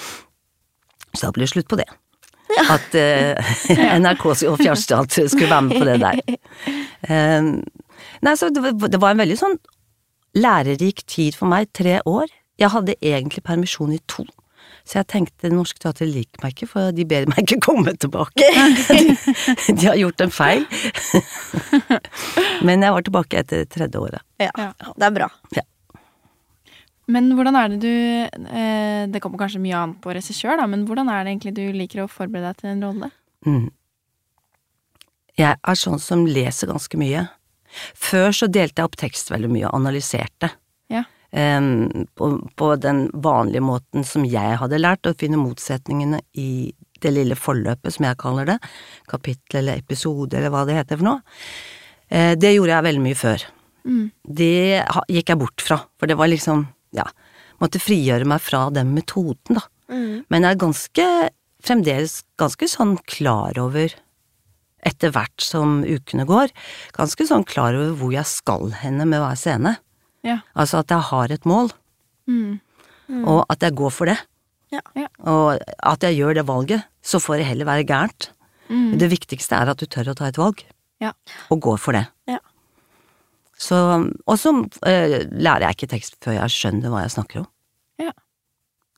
[SPEAKER 4] Så da ble det slutt på det. At eh, NRK og Fjernstat skulle være med på det der. Em, nei, så det, var- det var en veldig sånn lærerik tid for meg. Tre år. Jeg hadde egentlig permisjon i to. Så jeg tenkte Norsk Teater liker meg ikke, for de ber meg ikke komme tilbake.
[SPEAKER 2] Mhm.
[SPEAKER 4] De, de har gjort en feil. Men jeg var tilbake etter tredje året.
[SPEAKER 2] Ja.
[SPEAKER 1] Ja.
[SPEAKER 2] Det er bra.
[SPEAKER 1] Men hvordan er det du eh, Det kommer kanskje mye an på regissør, da, men hvordan er det egentlig du liker å forberede deg til en rolle?
[SPEAKER 4] Mm. Jeg er sånn som leser ganske mye. Før så delte jeg opp tekst veldig mye og analyserte.
[SPEAKER 1] Ja.
[SPEAKER 4] em, på, på den vanlige måten som jeg hadde lært, å finne motsetningene i det lille forløpet, som jeg kaller det. Kapittel eller episode, eller hva det heter for noe. Eh, det gjorde jeg veldig mye før.
[SPEAKER 1] Mm.
[SPEAKER 4] Det ha- gikk jeg bort fra, for det var liksom Ja. Måtte frigjøre meg fra den metoden, da.
[SPEAKER 2] Mm.
[SPEAKER 4] Men jeg er ganske, fremdeles ganske sånn klar over, etter hvert som ukene går, ganske sånn klar over hvor jeg skal henne med hver scene.
[SPEAKER 1] Ja.
[SPEAKER 4] Altså at jeg har et mål,
[SPEAKER 1] Mm.
[SPEAKER 4] og at jeg går for det.
[SPEAKER 2] Ja.
[SPEAKER 1] Ja.
[SPEAKER 4] Og at jeg gjør det valget. Så får det heller være gærent.
[SPEAKER 1] Mm.
[SPEAKER 4] Det viktigste er at du tør å ta et valg,
[SPEAKER 1] Ja.
[SPEAKER 4] og går for det.
[SPEAKER 2] Ja.
[SPEAKER 4] Så, og så eh, lærer jeg ikke tekst før jeg skjønner hva jeg snakker om.
[SPEAKER 1] Ja.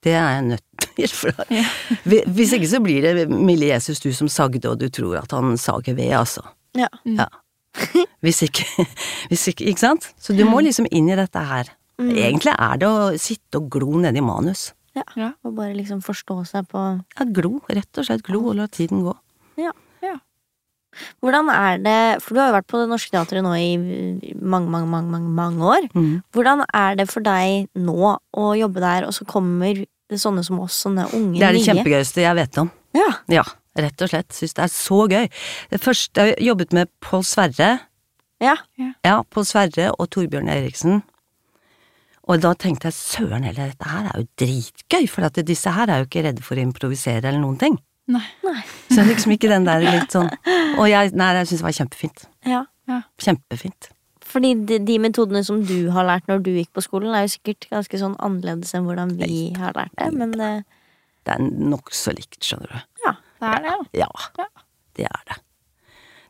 [SPEAKER 4] Det er jeg nødt til. For da-
[SPEAKER 1] Ja.
[SPEAKER 4] Hvi- Hvis ikke så blir det milde Jesus du som sagde, og du tror at han sager ved, altså.
[SPEAKER 2] Ja.
[SPEAKER 1] Mm.
[SPEAKER 4] Ja. Hvis ikke, hvis ikke Ikke sant? Så du må liksom inn i dette her.
[SPEAKER 2] Mm.
[SPEAKER 1] Mm.
[SPEAKER 4] Egentlig er det å sitte og glo nedi manus.
[SPEAKER 1] Ja.
[SPEAKER 2] Og bare liksom forstå seg på
[SPEAKER 4] Ja, glo. Rett og slett glo, og la tiden gå.
[SPEAKER 2] Hvordan er det For du har jo vært på Det Norske Teatret nå i eh, mange, mange, mange, mange, mange år.
[SPEAKER 4] Mm.
[SPEAKER 2] Hvordan er det for deg nå å jobbe der, og så kommer det sånne som oss, sånne unge
[SPEAKER 4] Det er det
[SPEAKER 2] nye?
[SPEAKER 4] kjempegøyeste jeg vet om.
[SPEAKER 2] Ja.
[SPEAKER 4] Ja, rett og slett. Syns det er så gøy. Det første jeg jobbet med Pål Sverre.
[SPEAKER 2] ja.
[SPEAKER 4] Ja, Pål Sverre og Torbjørn Eriksen. Og da tenkte jeg søren heller, dette her er jo dritgøy, for at disse her er jo ikke redde for å improvisere eller noen ting.
[SPEAKER 1] Nei.
[SPEAKER 4] Så liksom ikke den der litt sånn Og jeg, nei, jeg syns det var kjempefint.
[SPEAKER 2] ja.
[SPEAKER 4] Kjempefint.
[SPEAKER 2] Fordi de, de metodene som du har lært når du gikk på skolen, er jo sikkert ganske sånn annerledes enn hvordan vi har lært det, men eh,
[SPEAKER 4] Det er nokså likt, skjønner du.
[SPEAKER 2] ja.
[SPEAKER 1] Det er det, ja.
[SPEAKER 4] Ja,
[SPEAKER 1] Ja.
[SPEAKER 4] det er det.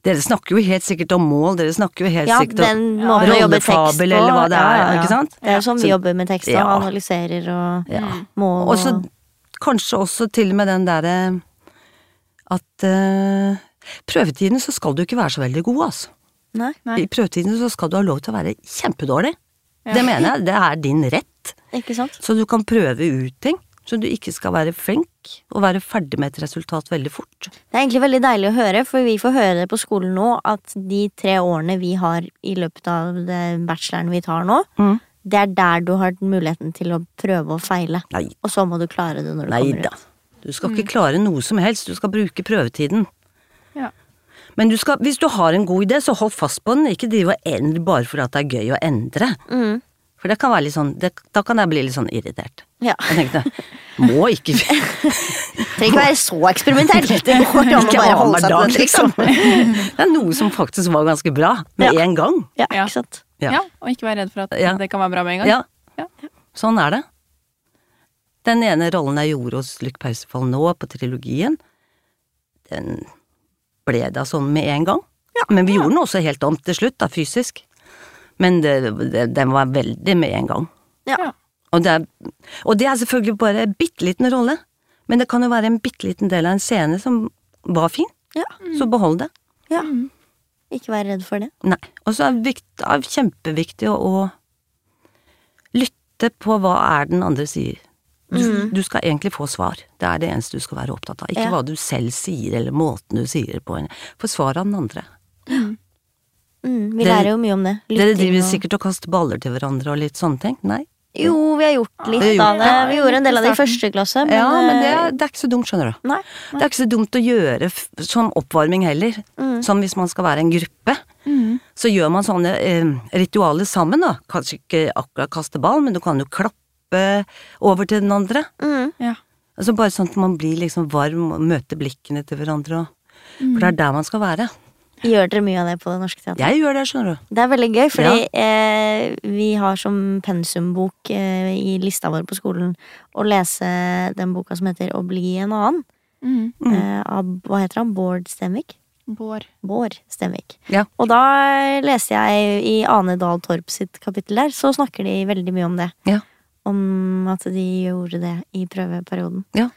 [SPEAKER 4] Dere snakker jo helt sikkert om mål, dere snakker jo helt
[SPEAKER 2] ja
[SPEAKER 4] sikkert om
[SPEAKER 2] den måten å jobbe tekst på.
[SPEAKER 4] Rollefabel, eller hva det
[SPEAKER 2] ja,
[SPEAKER 4] er,
[SPEAKER 2] ja, ja.
[SPEAKER 4] ikke sant?
[SPEAKER 2] Det er jo sånn vi
[SPEAKER 4] Så-
[SPEAKER 2] jobber med tekst, og
[SPEAKER 4] Ja.
[SPEAKER 2] analyserer og
[SPEAKER 4] Ja.
[SPEAKER 2] må
[SPEAKER 4] Og så kanskje også til og med den derre at eh, prøvetiden så skal du ikke være så veldig god, altså.
[SPEAKER 2] Nei.
[SPEAKER 1] Nei.
[SPEAKER 4] I prøvetiden så skal du ha lov til å være kjempedårlig.
[SPEAKER 1] Ja.
[SPEAKER 4] Det mener jeg, det er din rett.
[SPEAKER 2] Ikke sant?
[SPEAKER 4] Så du kan prøve ut ting. Så du ikke skal være flink og være ferdig med et resultat veldig fort.
[SPEAKER 2] Det er egentlig veldig deilig å høre, for vi får høre det på skolen nå at de tre årene vi har i løpet av det bacheloren vi tar nå,
[SPEAKER 4] Mm.
[SPEAKER 2] det er der du har muligheten til å prøve og feile.
[SPEAKER 4] Nei,
[SPEAKER 2] Og så må du klare det når du
[SPEAKER 4] nei
[SPEAKER 2] kommer
[SPEAKER 4] da.
[SPEAKER 2] ut.
[SPEAKER 4] Du skal
[SPEAKER 1] Mm.
[SPEAKER 4] ikke klare noe som helst, du skal bruke prøvetiden.
[SPEAKER 1] Ja.
[SPEAKER 4] Men du skal, hvis du har en god idé, så hold fast på den, ikke drive og endre bare for at det er gøy å endre.
[SPEAKER 2] Mm.
[SPEAKER 4] For det kan være litt sånn, det, da kan jeg bli litt sånn irritert.
[SPEAKER 2] Ja.
[SPEAKER 4] Jeg tenkte, må ikke
[SPEAKER 2] Trenger ikke være så eksperimentelt. Det går an å
[SPEAKER 4] Ikke
[SPEAKER 2] bare
[SPEAKER 4] ha
[SPEAKER 2] holde
[SPEAKER 4] meg
[SPEAKER 2] seg til
[SPEAKER 4] dag,
[SPEAKER 2] den
[SPEAKER 4] liksom.
[SPEAKER 2] teksten.
[SPEAKER 4] Det er noe som faktisk var ganske bra, med en gang.
[SPEAKER 2] Ja,
[SPEAKER 1] Ja.
[SPEAKER 2] ikke sant?
[SPEAKER 4] Ja.
[SPEAKER 1] Ja, og ikke være redd for at
[SPEAKER 4] Ja.
[SPEAKER 1] det kan være bra med en gang.
[SPEAKER 4] Ja.
[SPEAKER 1] Ja.
[SPEAKER 4] Sånn er det. Den ene rollen jeg gjorde hos Luc Pausefall nå, på trilogien, den ble da sånn med en gang. Men vi gjorde den også helt om til slutt, da, fysisk. Men det, det, den var veldig med en gang.
[SPEAKER 1] Ja.
[SPEAKER 4] Og det, er, og det er selvfølgelig bare en bitte liten rolle, men det kan jo være en bitte liten del av en scene som var fin.
[SPEAKER 2] Ja.
[SPEAKER 4] Så
[SPEAKER 1] Mm.
[SPEAKER 4] behold det.
[SPEAKER 2] Ja. Ikke vær redd for det.
[SPEAKER 4] Nei. Og så er det vikt- er kjempeviktig å, å lytte på hva er den andre sier. Du, du skal egentlig få svar. Det er det eneste du skal være opptatt av. Ikke
[SPEAKER 2] Mm. Ja.
[SPEAKER 4] hva du selv sier, eller måten du sier det på. For svar av den andre.
[SPEAKER 2] Mm, vi
[SPEAKER 4] Dere-
[SPEAKER 2] lærer jo mye om det.
[SPEAKER 4] Dere
[SPEAKER 2] Lytting
[SPEAKER 4] driver
[SPEAKER 2] og-
[SPEAKER 4] sikkert og kaster baller til hverandre og litt sånne ting? Nei?
[SPEAKER 2] Jo, vi har gjort litt
[SPEAKER 4] Dere
[SPEAKER 2] av
[SPEAKER 4] har gjort
[SPEAKER 2] det.
[SPEAKER 1] det.
[SPEAKER 2] Vi gjorde en del av det i
[SPEAKER 1] Starten.
[SPEAKER 2] første klasse, men,
[SPEAKER 4] ja, men det,
[SPEAKER 2] eh,
[SPEAKER 4] er- det er ikke så dumt, skjønner du.
[SPEAKER 2] Nei.
[SPEAKER 4] Det er ikke så dumt å gjøre f som oppvarming heller.
[SPEAKER 2] Mm.
[SPEAKER 4] Sånn hvis man skal være en gruppe.
[SPEAKER 1] Mm.
[SPEAKER 4] Så gjør man sånne eh, ritualer sammen, da. Kanskje ikke akkurat kaste ball, men du kan jo klappe over til den andre.
[SPEAKER 2] Mm.
[SPEAKER 1] Ja.
[SPEAKER 4] Altså bare sånn at man blir liksom varm og møter blikkene til hverandre og For det er der man skal være.
[SPEAKER 2] Gjør dere mye av det på Det Norske Teatret?
[SPEAKER 4] Jeg gjør det, skjønner du.
[SPEAKER 2] Det er veldig gøy, fordi eh, vi har som pensumbok eh, i lista vår på skolen å lese den boka som heter Å bli en annen.
[SPEAKER 1] Mm.
[SPEAKER 2] Eh, av, hva heter han? Bård Stenvik?
[SPEAKER 1] Bård.
[SPEAKER 2] Bård Stenvik.
[SPEAKER 4] Ja.
[SPEAKER 2] Og da leste jeg i Ane Dahl Torp sitt kapittel der, så snakker de veldig mye om det.
[SPEAKER 4] Ja.
[SPEAKER 2] Om at de gjorde det i prøveperioden.
[SPEAKER 4] Ja.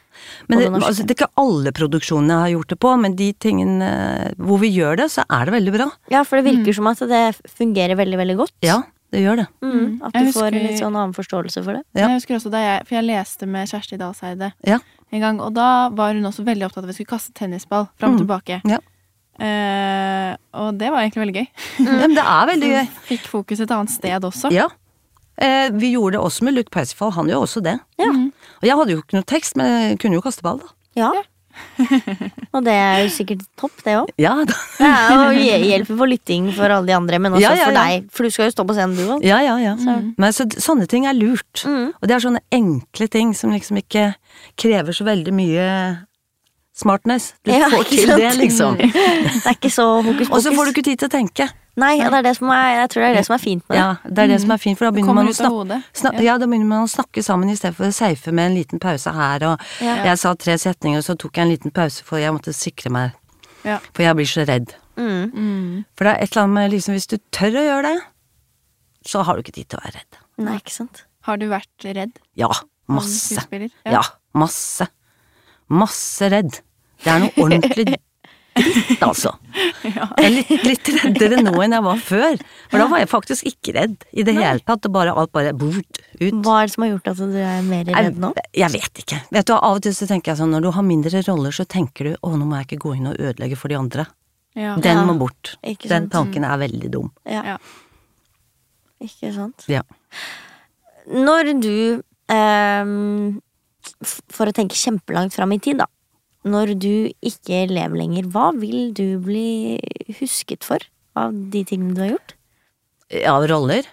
[SPEAKER 4] Men
[SPEAKER 2] Og
[SPEAKER 4] det,
[SPEAKER 2] det norske.
[SPEAKER 4] altså, det er ikke alle produksjonene jeg har gjort det på, men de tingene hvor vi gjør det, så er det veldig bra.
[SPEAKER 2] Ja, for det virker som at det fungerer veldig, veldig godt.
[SPEAKER 4] Mm. Ja, det gjør det.
[SPEAKER 2] Mm, at
[SPEAKER 1] Jeg
[SPEAKER 2] du
[SPEAKER 1] husker-
[SPEAKER 2] får en litt sånn annen forståelse for det.
[SPEAKER 4] Ja.
[SPEAKER 1] Jeg husker også da jeg, For jeg leste med Kjersti Dalseide
[SPEAKER 4] Ja.
[SPEAKER 1] en gang, og da var hun også veldig opptatt av at vi skulle kaste tennisball fram og tilbake.
[SPEAKER 4] Ja.
[SPEAKER 1] Eh, og det var egentlig veldig gøy.
[SPEAKER 4] ja men det er veldig gøy.
[SPEAKER 1] Fikk fokus et annet sted også.
[SPEAKER 4] Ja. Eh, vi gjorde det også med Luke Percival, han gjør også det. Mm. Og jeg hadde jo ikke noe tekst, men jeg kunne jo kaste ball, da.
[SPEAKER 2] Ja. Og det er jo sikkert topp, det òg.
[SPEAKER 4] Ja, da.
[SPEAKER 2] Ja, og hj- hjelper for lytting for alle de andre, men også
[SPEAKER 4] Ja, ja,
[SPEAKER 2] for
[SPEAKER 4] ja.
[SPEAKER 2] deg. For du skal jo stå på scenen, du òg.
[SPEAKER 4] ja, ja. ja.
[SPEAKER 1] Mm.
[SPEAKER 4] Men så, sånne ting er lurt.
[SPEAKER 2] Mm.
[SPEAKER 4] Og det er sånne enkle ting som liksom ikke krever så veldig mye smartness. Du
[SPEAKER 2] Ja,
[SPEAKER 4] får
[SPEAKER 2] ikke
[SPEAKER 4] til
[SPEAKER 2] sant? Mm.
[SPEAKER 4] det, liksom.
[SPEAKER 2] Det er ikke så hokus
[SPEAKER 4] Og så får du
[SPEAKER 2] pokus.
[SPEAKER 4] ikke tid til å tenke.
[SPEAKER 2] Nei, ja, det er det som er, jeg tror det er det som er fint med det.
[SPEAKER 4] Ja, det er det som er fint, for da begynner
[SPEAKER 1] kommer
[SPEAKER 4] man å
[SPEAKER 1] ut av
[SPEAKER 4] snakke,
[SPEAKER 1] hodet.
[SPEAKER 4] snak, ja. da begynner man å snakke sammen istedenfor å safe med en liten pause her, og
[SPEAKER 2] Ja.
[SPEAKER 4] jeg sa tre setninger, og så tok jeg en liten pause, for jeg måtte sikre meg,
[SPEAKER 1] Ja.
[SPEAKER 4] for jeg blir så redd.
[SPEAKER 2] Mm.
[SPEAKER 4] For det er et eller annet med liksom, hvis du tør å gjøre det, så har du ikke tid til å være redd.
[SPEAKER 2] Nei, ikke sant.
[SPEAKER 1] Har du vært redd?
[SPEAKER 4] Ja,
[SPEAKER 1] som
[SPEAKER 4] masse.
[SPEAKER 1] skuespiller?
[SPEAKER 4] Ja, masse. Masse redd. Det er noe ordentlig dritt, altså. Jeg er litt, litt reddere nå enn jeg var før. For da var jeg faktisk ikke redd i det hele tatt. Og bare, alt bare bort, ut.
[SPEAKER 2] Hva er det som har gjort at du er mer redd nå?
[SPEAKER 4] Jeg, jeg vet ikke. Vet du, hva, Av og til så tenker jeg sånn, når du har mindre roller, så tenker du 'å, nå må jeg ikke gå inn og ødelegge for de andre'.
[SPEAKER 1] Ja.
[SPEAKER 4] Den
[SPEAKER 2] Ja,
[SPEAKER 4] må bort.
[SPEAKER 2] ikke
[SPEAKER 4] Den
[SPEAKER 2] sant.
[SPEAKER 4] tanken er veldig dum.
[SPEAKER 2] Ja,
[SPEAKER 1] Ja.
[SPEAKER 2] ikke sant.
[SPEAKER 4] Ja.
[SPEAKER 2] Når du ehm, f- For å tenke kjempelangt fram i tid, da. Når du ikke lever lenger, hva vil du bli husket for av de tingene du har gjort?
[SPEAKER 4] Av roller?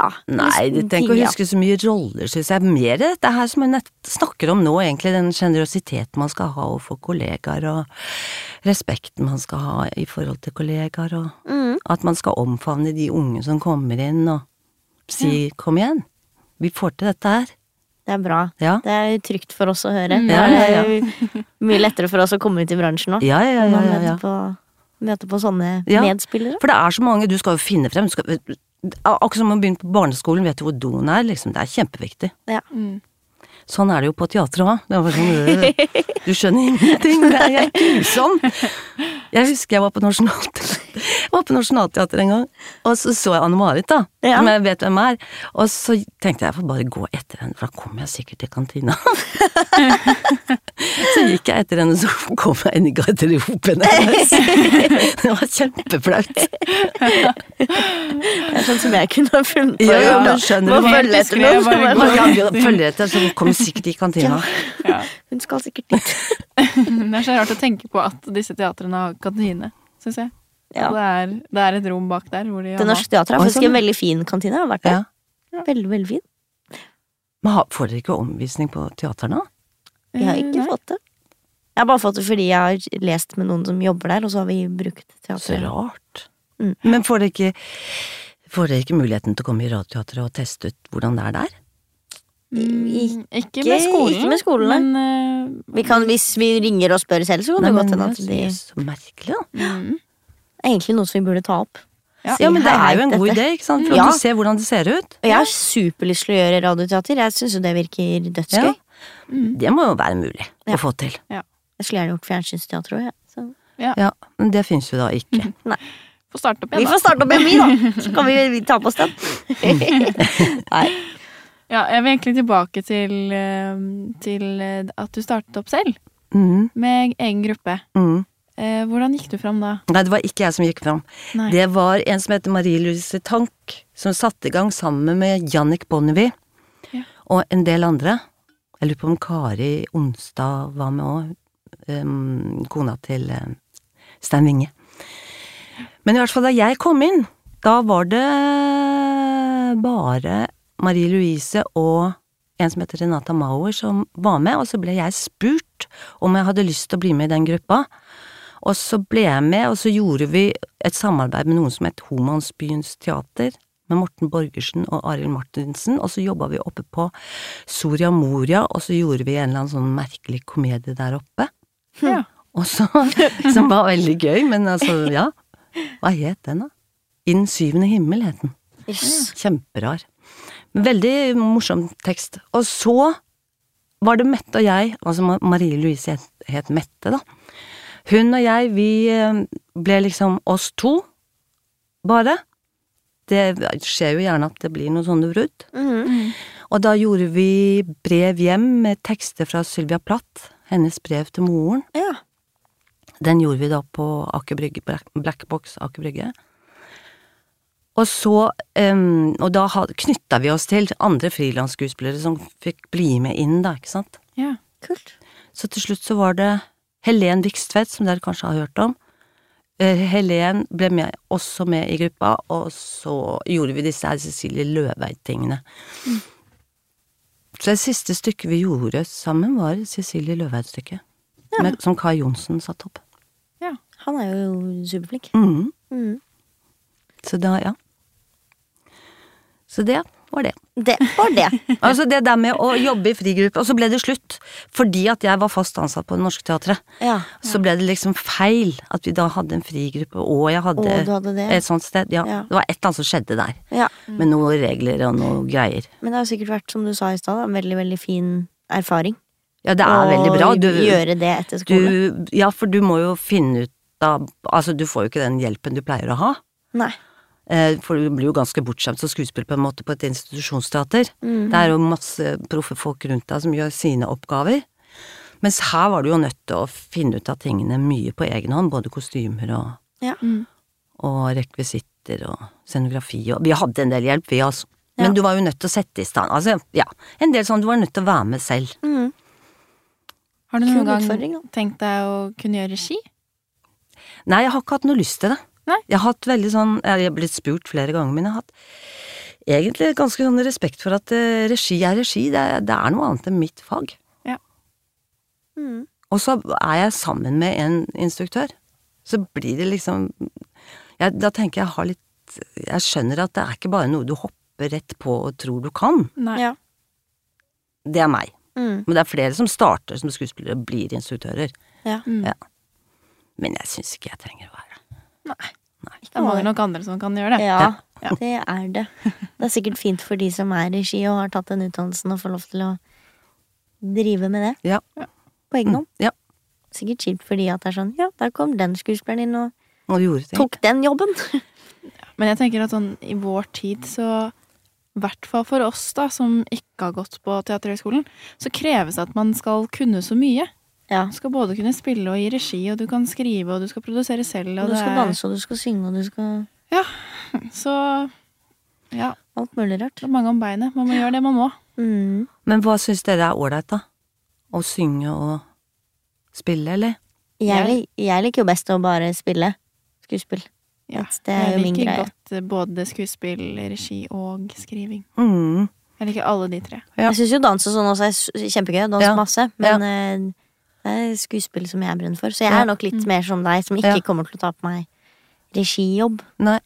[SPEAKER 2] Ja.
[SPEAKER 4] Nei, du
[SPEAKER 2] hvis-
[SPEAKER 4] trenger ikke
[SPEAKER 2] ting,
[SPEAKER 4] å
[SPEAKER 2] ja.
[SPEAKER 4] huske så mye roller, syns jeg. Mer dette her som jeg nett snakker om nå, egentlig. Den sjenerøsiteten man skal ha overfor kollegaer, og respekten man skal ha i forhold til kollegaer, og
[SPEAKER 2] Mm.
[SPEAKER 4] at man skal omfavne de unge som kommer inn, og si 'kom igjen, vi får til dette her'.
[SPEAKER 2] Det er bra.
[SPEAKER 4] Ja.
[SPEAKER 2] Det er trygt for oss å høre.
[SPEAKER 1] Mm.
[SPEAKER 2] Det
[SPEAKER 4] Ja, ja,
[SPEAKER 2] er jo mye lettere for oss å komme ut i bransjen nå.
[SPEAKER 4] Ja, ja, ja.
[SPEAKER 2] Når
[SPEAKER 4] ja,
[SPEAKER 2] man
[SPEAKER 4] ja.
[SPEAKER 2] møter på, møter på sånne
[SPEAKER 4] Ja.
[SPEAKER 2] medspillere.
[SPEAKER 4] For det er så mange, du skal jo finne frem. Du skal, akkurat som å begynne på barneskolen, vet du hvor doen er, liksom. Det er kjempeviktig.
[SPEAKER 2] Ja.
[SPEAKER 1] Mm.
[SPEAKER 4] Sånn er det jo på teatret òg. Det var bare sånn øh, Du skjønner ingenting. Det er jeg er grusom. Jeg husker jeg var på Nasjonalteatret Jeg var på Nationaltheatret en gang, og så så jeg Anne-Marit, da.
[SPEAKER 2] Ja.
[SPEAKER 4] Som jeg vet hvem er. Og så tenkte jeg jeg får bare gå etter henne, for da kommer jeg sikkert til kantina. så gikk jeg etter henne, så kom jeg inn i garderoben hennes. det var kjempeflaut.
[SPEAKER 2] Det er sånn som jeg kunne ha funnet på
[SPEAKER 4] Ja,
[SPEAKER 2] å
[SPEAKER 4] ja,
[SPEAKER 2] gjøre.
[SPEAKER 4] men skjønner
[SPEAKER 2] Må
[SPEAKER 4] du.
[SPEAKER 2] følge etter
[SPEAKER 1] Helt
[SPEAKER 2] noen.
[SPEAKER 1] diskret, bare
[SPEAKER 2] så
[SPEAKER 1] gå.
[SPEAKER 2] bare-
[SPEAKER 4] Følger etter, så kommer sikkert i kantina.
[SPEAKER 2] Hun skal sikkert dit.
[SPEAKER 1] Det er så rart å tenke på at disse teatrene har kantine, syns jeg.
[SPEAKER 2] Ja.
[SPEAKER 1] Det, er, det er et rom bak der hvor de
[SPEAKER 2] Det
[SPEAKER 1] har
[SPEAKER 2] Norske Teatret har
[SPEAKER 4] Oi,
[SPEAKER 2] faktisk
[SPEAKER 4] sånn.
[SPEAKER 2] en veldig fin kantine. Jeg har vært der.
[SPEAKER 4] Ja.
[SPEAKER 2] Veldig, veldig fin.
[SPEAKER 4] Men har- får dere ikke omvisning på teater nå?
[SPEAKER 1] mat.
[SPEAKER 2] Vi har
[SPEAKER 1] Eh,
[SPEAKER 2] ikke
[SPEAKER 1] nei.
[SPEAKER 2] fått det. Jeg har bare fått det fordi jeg har lest med noen som jobber der, og så har vi brukt
[SPEAKER 4] Så
[SPEAKER 2] teatret.
[SPEAKER 4] rart.
[SPEAKER 2] Mm.
[SPEAKER 4] Men får dere ikke, får dere ikke muligheten til å komme i Radioteatret og teste ut hvordan det er der?
[SPEAKER 1] Mm, Ikke med skolen.
[SPEAKER 2] ikke med skolen, nei.
[SPEAKER 1] men, eh,
[SPEAKER 2] Vi kan, hvis vi ringer og spør selv, så kan det
[SPEAKER 4] Nei,
[SPEAKER 2] godt
[SPEAKER 4] men
[SPEAKER 2] hende at
[SPEAKER 4] jeg
[SPEAKER 2] de
[SPEAKER 4] synes Så merkelig, da.
[SPEAKER 1] mm.
[SPEAKER 2] Egentlig noe som vi burde ta opp.
[SPEAKER 1] Ja.
[SPEAKER 2] Si,
[SPEAKER 4] Ja, men det
[SPEAKER 2] hei,
[SPEAKER 4] er jo en
[SPEAKER 2] hei,
[SPEAKER 4] god
[SPEAKER 2] dette.
[SPEAKER 4] idé, ikke sant? For
[SPEAKER 2] Ja.
[SPEAKER 4] at du ser hvordan det ser ut.
[SPEAKER 2] Og jeg har superlyst til å gjøre radioteater. Jeg syns jo det virker dødsgøy.
[SPEAKER 4] Ja. Det må jo være mulig
[SPEAKER 2] Ja.
[SPEAKER 4] å få til.
[SPEAKER 2] Jeg skulle gjerne gjort fjernsynsteater òg, jeg. Så.
[SPEAKER 4] Ja, Men det fins jo da ikke.
[SPEAKER 1] Få starte opp
[SPEAKER 2] Vi
[SPEAKER 1] igjen, da.
[SPEAKER 2] får starte opp en vi, da! Så kan vi, vi ta på oss den. Nei.
[SPEAKER 1] Ja, jeg vil egentlig tilbake til, eh, til eh, at du startet opp selv,
[SPEAKER 2] Mhm.
[SPEAKER 4] Mm,
[SPEAKER 1] med egen gruppe.
[SPEAKER 4] mm.
[SPEAKER 1] Eh, Hvordan gikk du fram da?
[SPEAKER 4] Nei, det var ikke jeg som gikk fram.
[SPEAKER 1] Nei.
[SPEAKER 4] Det var en som heter Marie-Louise Tank, som satte i gang sammen med Jannik Bonnevie
[SPEAKER 1] Ja.
[SPEAKER 4] og en del andre. Jeg lurer på om Kari Onstad var med òg. Um, kona til um, Stein Winge. Men i hvert fall da jeg kom inn, da var det bare Marie-Louise og en som heter Renata Mauer, som var med, og så ble jeg spurt om jeg hadde lyst til å bli med i den gruppa. Og så ble jeg med, og så gjorde vi et samarbeid med noen som het Homansbyens teater, med Morten Borgersen og Arild Martinsen, og så jobba vi oppe på Soria Moria, og så gjorde vi en eller annen sånn merkelig komedie der oppe.
[SPEAKER 1] Ja.
[SPEAKER 4] Og så, som var veldig gøy, men altså, ja. Hva het den, da? I den syvende himmel het den.
[SPEAKER 2] Yes.
[SPEAKER 4] Kjemperar. Veldig morsom tekst. Og så var det Mette og jeg, altså Ma- Marie Louise het, het Mette, da. Hun og jeg, vi eh, ble liksom oss to, bare. Det skjer jo gjerne at det blir noen sånne brudd.
[SPEAKER 2] Mhm.
[SPEAKER 4] Og da gjorde vi brev hjem med tekster fra Sylvia Plath, hennes brev til moren.
[SPEAKER 2] Ja.
[SPEAKER 4] Den gjorde vi da på Aker Brygge, Black- Black Box Aker Brygge. Og så em, Og da knytta vi oss til andre frilansskuespillere som fikk bli med inn, da, ikke sant.
[SPEAKER 1] Ja.
[SPEAKER 2] Kult.
[SPEAKER 4] Så til slutt så var det Helen Vikstvedt, som dere kanskje har hørt om. Eh, Helen ble med, også med i gruppa, og så gjorde vi disse her Cecilie Løveid-tingene. Så det siste stykket vi gjorde sammen, var Cecilie Løveid-stykket. med- Som Kai Johnsen satte opp.
[SPEAKER 1] ja.
[SPEAKER 2] Han er jo superflink.
[SPEAKER 4] Mhm.
[SPEAKER 2] Mhm.
[SPEAKER 4] Så da, ja. Så det var det.
[SPEAKER 2] Det var det.
[SPEAKER 4] Altså det der med å jobbe i frigruppe, og så ble det slutt. Fordi at jeg var fast ansatt på Det Norske Teatret.
[SPEAKER 2] Ja.
[SPEAKER 4] Så ble det liksom feil at vi da hadde en frigruppe, og jeg hadde,
[SPEAKER 2] Å, du hadde det.
[SPEAKER 4] et sånt sted. Ja,
[SPEAKER 2] Ja. Mm.
[SPEAKER 4] Det var et eller annet som skjedde der.
[SPEAKER 2] ja.
[SPEAKER 4] Med noen regler og noen greier.
[SPEAKER 2] Men det har sikkert vært, som du sa i stad, da, en veldig, veldig fin erfaring.
[SPEAKER 4] Ja, det er
[SPEAKER 2] Å
[SPEAKER 4] veldig bra. Du,
[SPEAKER 2] gjøre det etter skole.
[SPEAKER 4] du, ja, for du må jo finne ut av Altså, du får jo ikke den hjelpen du pleier å ha.
[SPEAKER 2] Nei.
[SPEAKER 4] Eh, For du blir jo ganske bortskjemt som skuespiller på en måte på et institusjonsteater.
[SPEAKER 2] Mm, Mm-hmm.
[SPEAKER 4] Det er jo masse proffe folk rundt deg som gjør sine oppgaver. Mens her var du jo nødt til å finne ut av tingene mye på egen hånd. Både kostymer og,
[SPEAKER 2] Ja.
[SPEAKER 4] og rekvisitter og scenografi og Vi hadde en del hjelp, vi altså.
[SPEAKER 2] Ja.
[SPEAKER 4] Men du var jo nødt til å sette i stand Altså, ja. En del sånn du var nødt til å være med selv.
[SPEAKER 2] Mhm.
[SPEAKER 1] Har du
[SPEAKER 2] Kul
[SPEAKER 1] noen
[SPEAKER 2] utfordring,
[SPEAKER 1] gang
[SPEAKER 2] da.
[SPEAKER 1] tenkt deg å kunne gjøre regi?
[SPEAKER 4] Nei, jeg har ikke hatt noe lyst til det.
[SPEAKER 1] Nei.
[SPEAKER 4] Jeg har hatt veldig sånn Jeg har blitt spurt flere ganger, men jeg har hatt egentlig ganske sånn respekt for at eh, regi er regi. Det er, det er noe annet enn mitt fag.
[SPEAKER 2] Mhm.
[SPEAKER 4] Og så er jeg sammen med en instruktør. Så blir det liksom jeg, Da tenker jeg jeg har litt Jeg skjønner at det er ikke bare noe du hopper rett på og tror du kan.
[SPEAKER 1] Nei.
[SPEAKER 2] Ja.
[SPEAKER 4] Det er meg.
[SPEAKER 2] Mhm.
[SPEAKER 4] Men det er flere som starter som skuespillere og blir instruktører.
[SPEAKER 2] Ja.
[SPEAKER 1] Mm.
[SPEAKER 4] Ja. Men jeg syns ikke jeg trenger å være det.
[SPEAKER 1] Det er mange nok andre som kan gjøre det.
[SPEAKER 2] Ja,
[SPEAKER 1] Ja.
[SPEAKER 2] det er det. Det er sikkert fint for de som er i regi og har tatt den utdannelsen og får lov til å drive med det
[SPEAKER 4] Ja.
[SPEAKER 2] på egen hånd.
[SPEAKER 4] Mm. ja.
[SPEAKER 2] Sikkert kjipt fordi at det er sånn Ja, der kom den skuespilleren inn og
[SPEAKER 4] Og vi gjorde ting.
[SPEAKER 2] tok den jobben.
[SPEAKER 1] Men jeg tenker at sånn i vår tid så i hvert fall for oss da, som ikke har gått på Teaterhøgskolen, så kreves det at man skal kunne så mye.
[SPEAKER 2] Ja.
[SPEAKER 1] Du skal både kunne spille og gi regi, og du kan skrive, og du skal produsere selv. Og
[SPEAKER 2] Du
[SPEAKER 1] det
[SPEAKER 2] skal
[SPEAKER 1] er-
[SPEAKER 2] danse, og du skal synge, og du skal
[SPEAKER 1] Ja, så ja,
[SPEAKER 2] Alt mulig rart.
[SPEAKER 1] det er mange om beinet. Man må gjøre det man må.
[SPEAKER 2] Mm.
[SPEAKER 4] Men hva syns dere er ålreit, da? Å synge og spille, eller?
[SPEAKER 2] Jeg, lik, jeg liker jo best å bare spille skuespill.
[SPEAKER 1] Ja.
[SPEAKER 2] Yes, det er jo
[SPEAKER 1] jeg
[SPEAKER 2] min
[SPEAKER 1] liker
[SPEAKER 2] greie.
[SPEAKER 1] godt eh, både skuespill, regi og skriving.
[SPEAKER 4] Mm.
[SPEAKER 1] Jeg liker alle de tre.
[SPEAKER 4] Ja.
[SPEAKER 2] Jeg syns jo dans og sånn også er s- kjempegøy. Dans
[SPEAKER 4] Ja.
[SPEAKER 2] masse. Men eh, det er skuespill som jeg brenner for. Så jeg
[SPEAKER 4] Ja.
[SPEAKER 2] er nok litt mer som deg, som ikke
[SPEAKER 4] Ja.
[SPEAKER 2] kommer til å ta på meg regijobb.
[SPEAKER 4] Nei.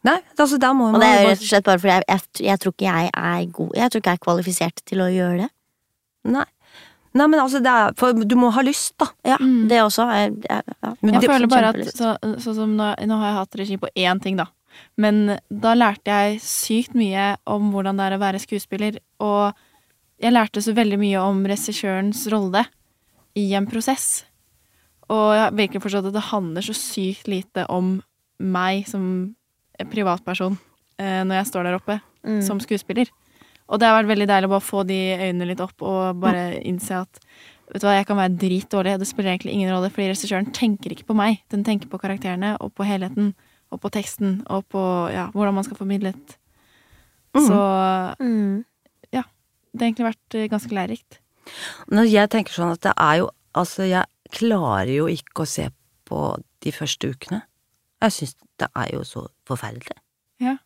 [SPEAKER 4] Nei, altså da må
[SPEAKER 2] Og
[SPEAKER 4] man
[SPEAKER 2] det er jo
[SPEAKER 4] bare-
[SPEAKER 2] rett og slett bare fordi jeg, jeg, jeg tror ikke jeg er god Jeg tror ikke jeg er kvalifisert til å gjøre det.
[SPEAKER 4] Nei. Nei, men altså det er For du må ha lyst, da.
[SPEAKER 2] Ja, Det også. Er, er, ja.
[SPEAKER 4] Men
[SPEAKER 1] Jeg
[SPEAKER 4] det-
[SPEAKER 1] føler bare at
[SPEAKER 2] kjempelyst.
[SPEAKER 1] så, så som nå, nå har jeg hatt regi på én ting, da. Men da lærte jeg sykt mye om hvordan det er å være skuespiller. Og jeg lærte så veldig mye om regissørens rolle i en prosess. Og jeg har virkelig forstått at det handler så sykt lite om meg som privatperson eh, når jeg står der oppe
[SPEAKER 4] Mm.
[SPEAKER 1] som skuespiller. Og det har vært veldig deilig å bare få de øynene litt opp og bare innse at Vet du hva, jeg kan være dritdårlig, det spiller egentlig ingen rolle, fordi regissøren tenker ikke på meg. Den tenker på karakterene og på helheten og på teksten og på ja, hvordan man skal formidle det. Så
[SPEAKER 2] Mm.
[SPEAKER 1] ja, det har egentlig vært eh, ganske lærerikt.
[SPEAKER 4] Når jeg tenker sånn at det er jo Altså, jeg klarer jo ikke å se på de første ukene. Jeg syns det er jo så forferdelig.
[SPEAKER 1] Ja.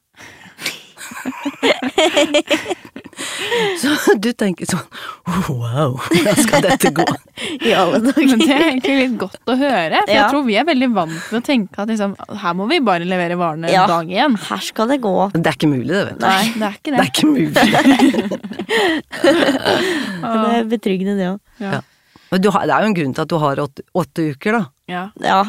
[SPEAKER 4] du tenker sånn wow, hvordan skal dette gå?
[SPEAKER 2] I alle
[SPEAKER 1] Men
[SPEAKER 2] dager.
[SPEAKER 1] det er egentlig litt godt å høre. For
[SPEAKER 2] Ja.
[SPEAKER 1] jeg tror vi er veldig vant til å tenke at liksom, her må vi bare levere varene
[SPEAKER 2] Ja.
[SPEAKER 1] dag én.
[SPEAKER 2] Her skal det gå.
[SPEAKER 4] Det er ikke mulig, det, vet du.
[SPEAKER 1] Nei, det er ikke
[SPEAKER 4] Det
[SPEAKER 1] det.
[SPEAKER 4] er ikke mulig.
[SPEAKER 2] Men det er betryggende, det òg.
[SPEAKER 1] Ja.
[SPEAKER 4] Men du har, det er jo en grunn til at du har åtte, åtte uker, da.
[SPEAKER 1] Ja.
[SPEAKER 2] Ja.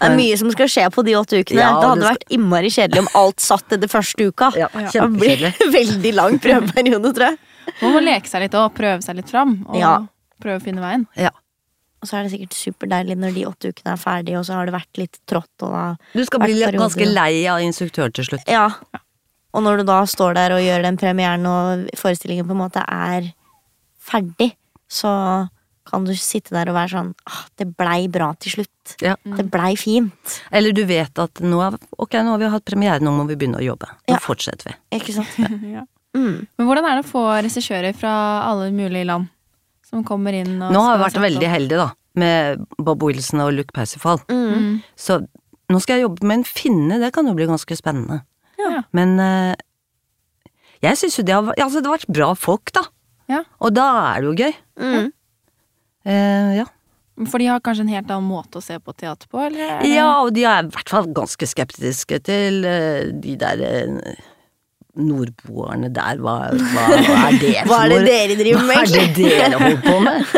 [SPEAKER 2] Det er
[SPEAKER 4] Men-
[SPEAKER 2] mye som skal skje på de åtte ukene.
[SPEAKER 4] Ja,
[SPEAKER 2] det hadde
[SPEAKER 4] det skal-
[SPEAKER 2] vært innmari kjedelig om alt satt til det første uka.
[SPEAKER 4] Ja,
[SPEAKER 1] Ja.
[SPEAKER 2] det blir
[SPEAKER 4] Kjempekjedelig.
[SPEAKER 2] veldig lang prøveperiode, tror jeg.
[SPEAKER 1] Man må leke seg litt og prøve seg litt fram. Og
[SPEAKER 2] Ja.
[SPEAKER 1] prøve å finne veien.
[SPEAKER 4] Ja.
[SPEAKER 2] Og så er det sikkert superdeilig når de åtte ukene er ferdige, og så har det vært litt trått. Og da,
[SPEAKER 4] Du skal bli
[SPEAKER 2] Hvert periode.
[SPEAKER 4] ganske lei av instruktør til slutt.
[SPEAKER 2] ja. Og når du da står der og gjør den premieren, og forestillingen på en måte er ferdig, så kan du sitte der og være sånn ah, Det blei bra til slutt.
[SPEAKER 4] Ja.
[SPEAKER 2] Det blei fint.
[SPEAKER 4] Eller du vet at nå, er, ok, nå har vi hatt premiere, nå må vi begynne å jobbe. Nå
[SPEAKER 2] Ja.
[SPEAKER 4] fortsetter vi.
[SPEAKER 2] Ikke sant?
[SPEAKER 1] Ja.
[SPEAKER 2] Mm.
[SPEAKER 1] Men hvordan er det å få regissører fra alle mulige land som kommer inn? Og
[SPEAKER 4] Nå har
[SPEAKER 1] skal
[SPEAKER 4] jeg vært
[SPEAKER 1] sette
[SPEAKER 4] veldig
[SPEAKER 1] opp-
[SPEAKER 4] heldig, da, med Bob Wilson og Luke Parsifal.
[SPEAKER 2] Mm.
[SPEAKER 4] Så nå skal jeg jobbe med en finne, det kan jo bli ganske spennende.
[SPEAKER 1] Ja.
[SPEAKER 4] Men eh, jeg syns jo det har, vært- altså det har vært bra folk, da.
[SPEAKER 1] Ja.
[SPEAKER 4] Og da er det jo gøy.
[SPEAKER 2] Mm.
[SPEAKER 4] Eh, ja.
[SPEAKER 1] For de har kanskje en helt annen måte å se på teater på? Eller? er det-
[SPEAKER 4] ja, og de er i hvert fall ganske skeptiske til eh, de der eh, nordboerne der. Hva, hva, er det for
[SPEAKER 2] Hva er det
[SPEAKER 4] noe?
[SPEAKER 2] dere driver med,
[SPEAKER 4] Hva er det dere holder på med?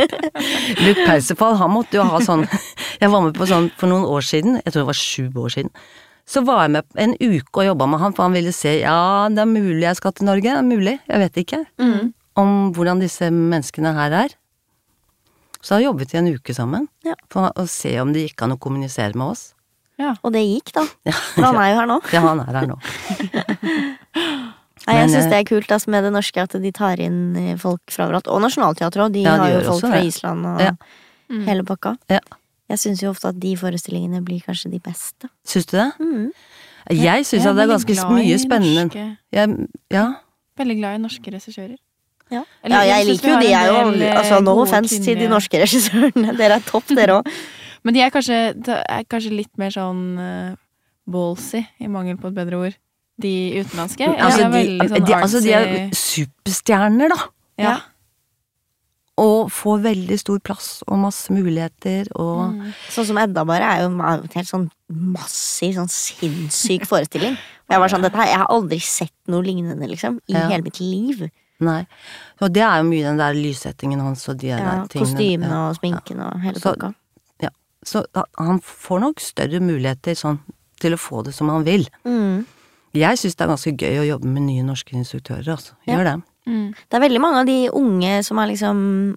[SPEAKER 4] Luke Pausefall, han måtte jo ha sånn Jeg var med på sånn for noen år siden, jeg tror det var sju år siden. Så var jeg med en uke og jobba med han, for han ville se ja, det er mulig jeg skal til Norge. Det er mulig, jeg vet ikke.
[SPEAKER 1] Mm.
[SPEAKER 4] Om hvordan disse menneskene her er. Så da jobbet vi en uke sammen
[SPEAKER 2] Ja.
[SPEAKER 4] for å se om det gikk an å kommunisere med oss.
[SPEAKER 1] Ja.
[SPEAKER 2] Og det gikk, da.
[SPEAKER 4] Ja,
[SPEAKER 2] For han er jo her nå.
[SPEAKER 4] ja han er her nå.
[SPEAKER 2] Nei, jeg
[SPEAKER 4] Men,
[SPEAKER 2] syns
[SPEAKER 4] eh,
[SPEAKER 2] det er kult ass, med det norske at de tar inn eh, folk fra overalt. Og Nationaltheatret òg. De
[SPEAKER 4] Ja, de
[SPEAKER 2] har jo
[SPEAKER 4] gjør
[SPEAKER 2] folk
[SPEAKER 4] også
[SPEAKER 2] fra
[SPEAKER 4] det.
[SPEAKER 2] Island og
[SPEAKER 4] Ja.
[SPEAKER 1] Mm.
[SPEAKER 2] hele pakka.
[SPEAKER 4] Ja.
[SPEAKER 2] Jeg syns jo ofte at de forestillingene blir kanskje de beste.
[SPEAKER 4] Syns du det?
[SPEAKER 2] Mm.
[SPEAKER 4] Jeg
[SPEAKER 1] Jeg
[SPEAKER 4] syns at det er
[SPEAKER 1] veldig
[SPEAKER 4] ganske
[SPEAKER 1] glad i
[SPEAKER 4] mye spennende.
[SPEAKER 1] Norske,
[SPEAKER 4] Jeg, ja.
[SPEAKER 1] veldig glad i norske regissører.
[SPEAKER 2] Ja.
[SPEAKER 1] Eller,
[SPEAKER 2] ja, jeg
[SPEAKER 1] synes vi har
[SPEAKER 2] liker jo de.
[SPEAKER 1] en
[SPEAKER 2] Jeg er
[SPEAKER 1] del,
[SPEAKER 2] jo
[SPEAKER 1] eh,
[SPEAKER 2] altså, no
[SPEAKER 1] gode
[SPEAKER 2] offense til de
[SPEAKER 1] kvinnelige-
[SPEAKER 2] norske regissørene. Dere er topp, dere òg.
[SPEAKER 1] Men de er kanskje, det er kanskje litt mer sånn eh, ballsy, i mangel på et bedre ord. De utenlandske. eller det er
[SPEAKER 4] Altså, de,
[SPEAKER 1] veldig sånn
[SPEAKER 4] de, altså, de er
[SPEAKER 1] artsy-
[SPEAKER 4] superstjerner, da.
[SPEAKER 1] ja.
[SPEAKER 4] Og får veldig stor plass og masse muligheter
[SPEAKER 1] Mm.
[SPEAKER 4] og
[SPEAKER 2] Sånn som Edda bare er jo en helt sånn massiv, sånn sinnssyk forestilling. Og jeg var sånn, dette her, jeg har aldri sett noe lignende, liksom. I
[SPEAKER 4] Ja.
[SPEAKER 2] hele mitt liv.
[SPEAKER 4] Nei. Og det er jo mye den der lyssettingen hans og de
[SPEAKER 2] Ja,
[SPEAKER 4] der tingene.
[SPEAKER 2] Kostymene
[SPEAKER 4] Ja.
[SPEAKER 2] og sminken og hele
[SPEAKER 4] Så-
[SPEAKER 2] pakka.
[SPEAKER 4] Ja. Så da- han får nok større muligheter sånn til å få det som han vil.
[SPEAKER 2] Mm.
[SPEAKER 4] Jeg syns det er ganske gøy å jobbe med nye norske instruktører, altså. Gjør det.
[SPEAKER 1] Mm.
[SPEAKER 2] Det er veldig mange av de unge som er liksom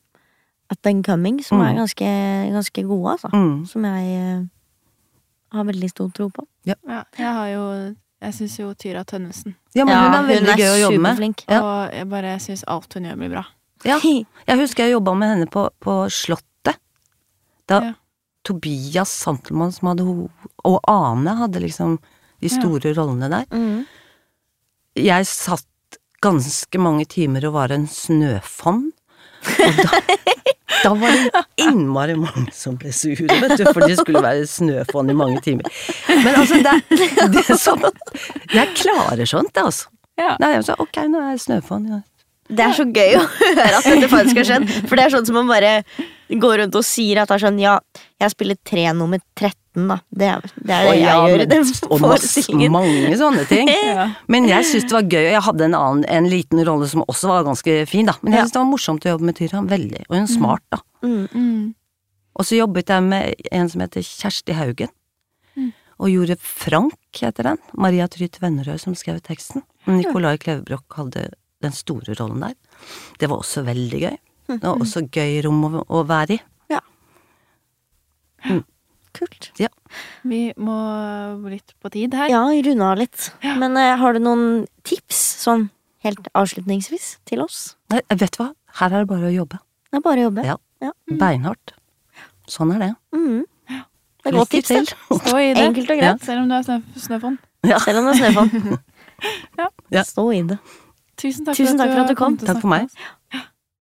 [SPEAKER 2] up and coming, som
[SPEAKER 4] Mm.
[SPEAKER 2] er ganske, ganske gode, altså.
[SPEAKER 4] Mm.
[SPEAKER 2] Som jeg eh, har veldig stor tro på.
[SPEAKER 1] ja. Jeg har jo Jeg syns jo Tyra Tønnesen.
[SPEAKER 4] Ja, men
[SPEAKER 2] Ja,
[SPEAKER 4] hun er veldig
[SPEAKER 2] hun er
[SPEAKER 4] gøy å jobbe med.
[SPEAKER 2] superflink.
[SPEAKER 4] Ja.
[SPEAKER 1] Og jeg bare syns alt hun gjør, blir bra.
[SPEAKER 4] Ja. Jeg husker jeg jobba med henne på, på Slottet. Da
[SPEAKER 1] Ja.
[SPEAKER 4] Tobias Santelmann som hadde ho og Ane hadde liksom de
[SPEAKER 1] Ja.
[SPEAKER 4] store rollene der.
[SPEAKER 2] Mm.
[SPEAKER 4] Jeg satt ganske mange timer og var en snøfonn. Og da, da var det innmari mange som ble sure, vet du, for de skulle være snøfonn i mange timer. Men altså, det, er- det er sånn Jeg klarer sånt, jeg, altså.
[SPEAKER 1] Ja.
[SPEAKER 4] Nei, jeg sa ok, nå er jeg snøfonn. Ja.
[SPEAKER 2] Det er så gøy å høre at dette faktisk har skjedd. For det er sånn som man bare går rundt og sier at det er sånn Ja, jeg spiller tre nummer 13, da. Det er det, er det
[SPEAKER 4] Og
[SPEAKER 2] jeg
[SPEAKER 4] ja,
[SPEAKER 2] gjør i
[SPEAKER 4] men-
[SPEAKER 2] den
[SPEAKER 4] og masse,
[SPEAKER 2] forestillingen.
[SPEAKER 4] mange sånne ting.
[SPEAKER 1] Ja.
[SPEAKER 4] Men jeg syns det var gøy, og jeg hadde en annen, en liten rolle som også var ganske fin, da. Men jeg
[SPEAKER 2] Ja.
[SPEAKER 4] syns det var morsomt å jobbe med Tyra, veldig. Og hun er smart, da.
[SPEAKER 2] Mm.
[SPEAKER 1] Mm.
[SPEAKER 4] Og så jobbet jeg med en som heter Kjersti Haugen.
[SPEAKER 2] Mm.
[SPEAKER 4] Og gjorde Frank, heter den. Maria Tryt Vennerød som skrev teksten. Nicolai Klevebrok hadde den store rollen der. Det var også veldig gøy.
[SPEAKER 2] Mm-hmm.
[SPEAKER 4] Det var også gøy rom å, å være i.
[SPEAKER 2] Kult.
[SPEAKER 4] Ja.
[SPEAKER 1] Vi må litt på tid her.
[SPEAKER 2] Ja, runde av litt.
[SPEAKER 1] Ja.
[SPEAKER 2] Men eh, har du noen tips sånn helt avslutningsvis til oss?
[SPEAKER 4] Nei, vet du hva? Her er det bare å jobbe.
[SPEAKER 2] Det er bare å jobbe.
[SPEAKER 4] Ja.
[SPEAKER 2] Ja.
[SPEAKER 4] Beinhardt. Sånn er det.
[SPEAKER 2] Mm. Det er godt tips, det.
[SPEAKER 1] Stå i det.
[SPEAKER 2] Enkelt og greit.
[SPEAKER 1] Selv om du er snø snøfonn.
[SPEAKER 4] Ja.
[SPEAKER 2] Selv om det er snøfall.
[SPEAKER 1] Ja.
[SPEAKER 4] Ja.
[SPEAKER 2] Stå i det.
[SPEAKER 1] Tusen takk,
[SPEAKER 2] Tusen takk for at du kom.
[SPEAKER 1] til å
[SPEAKER 4] Takk for
[SPEAKER 1] snakke med
[SPEAKER 4] meg.
[SPEAKER 1] oss. Ja.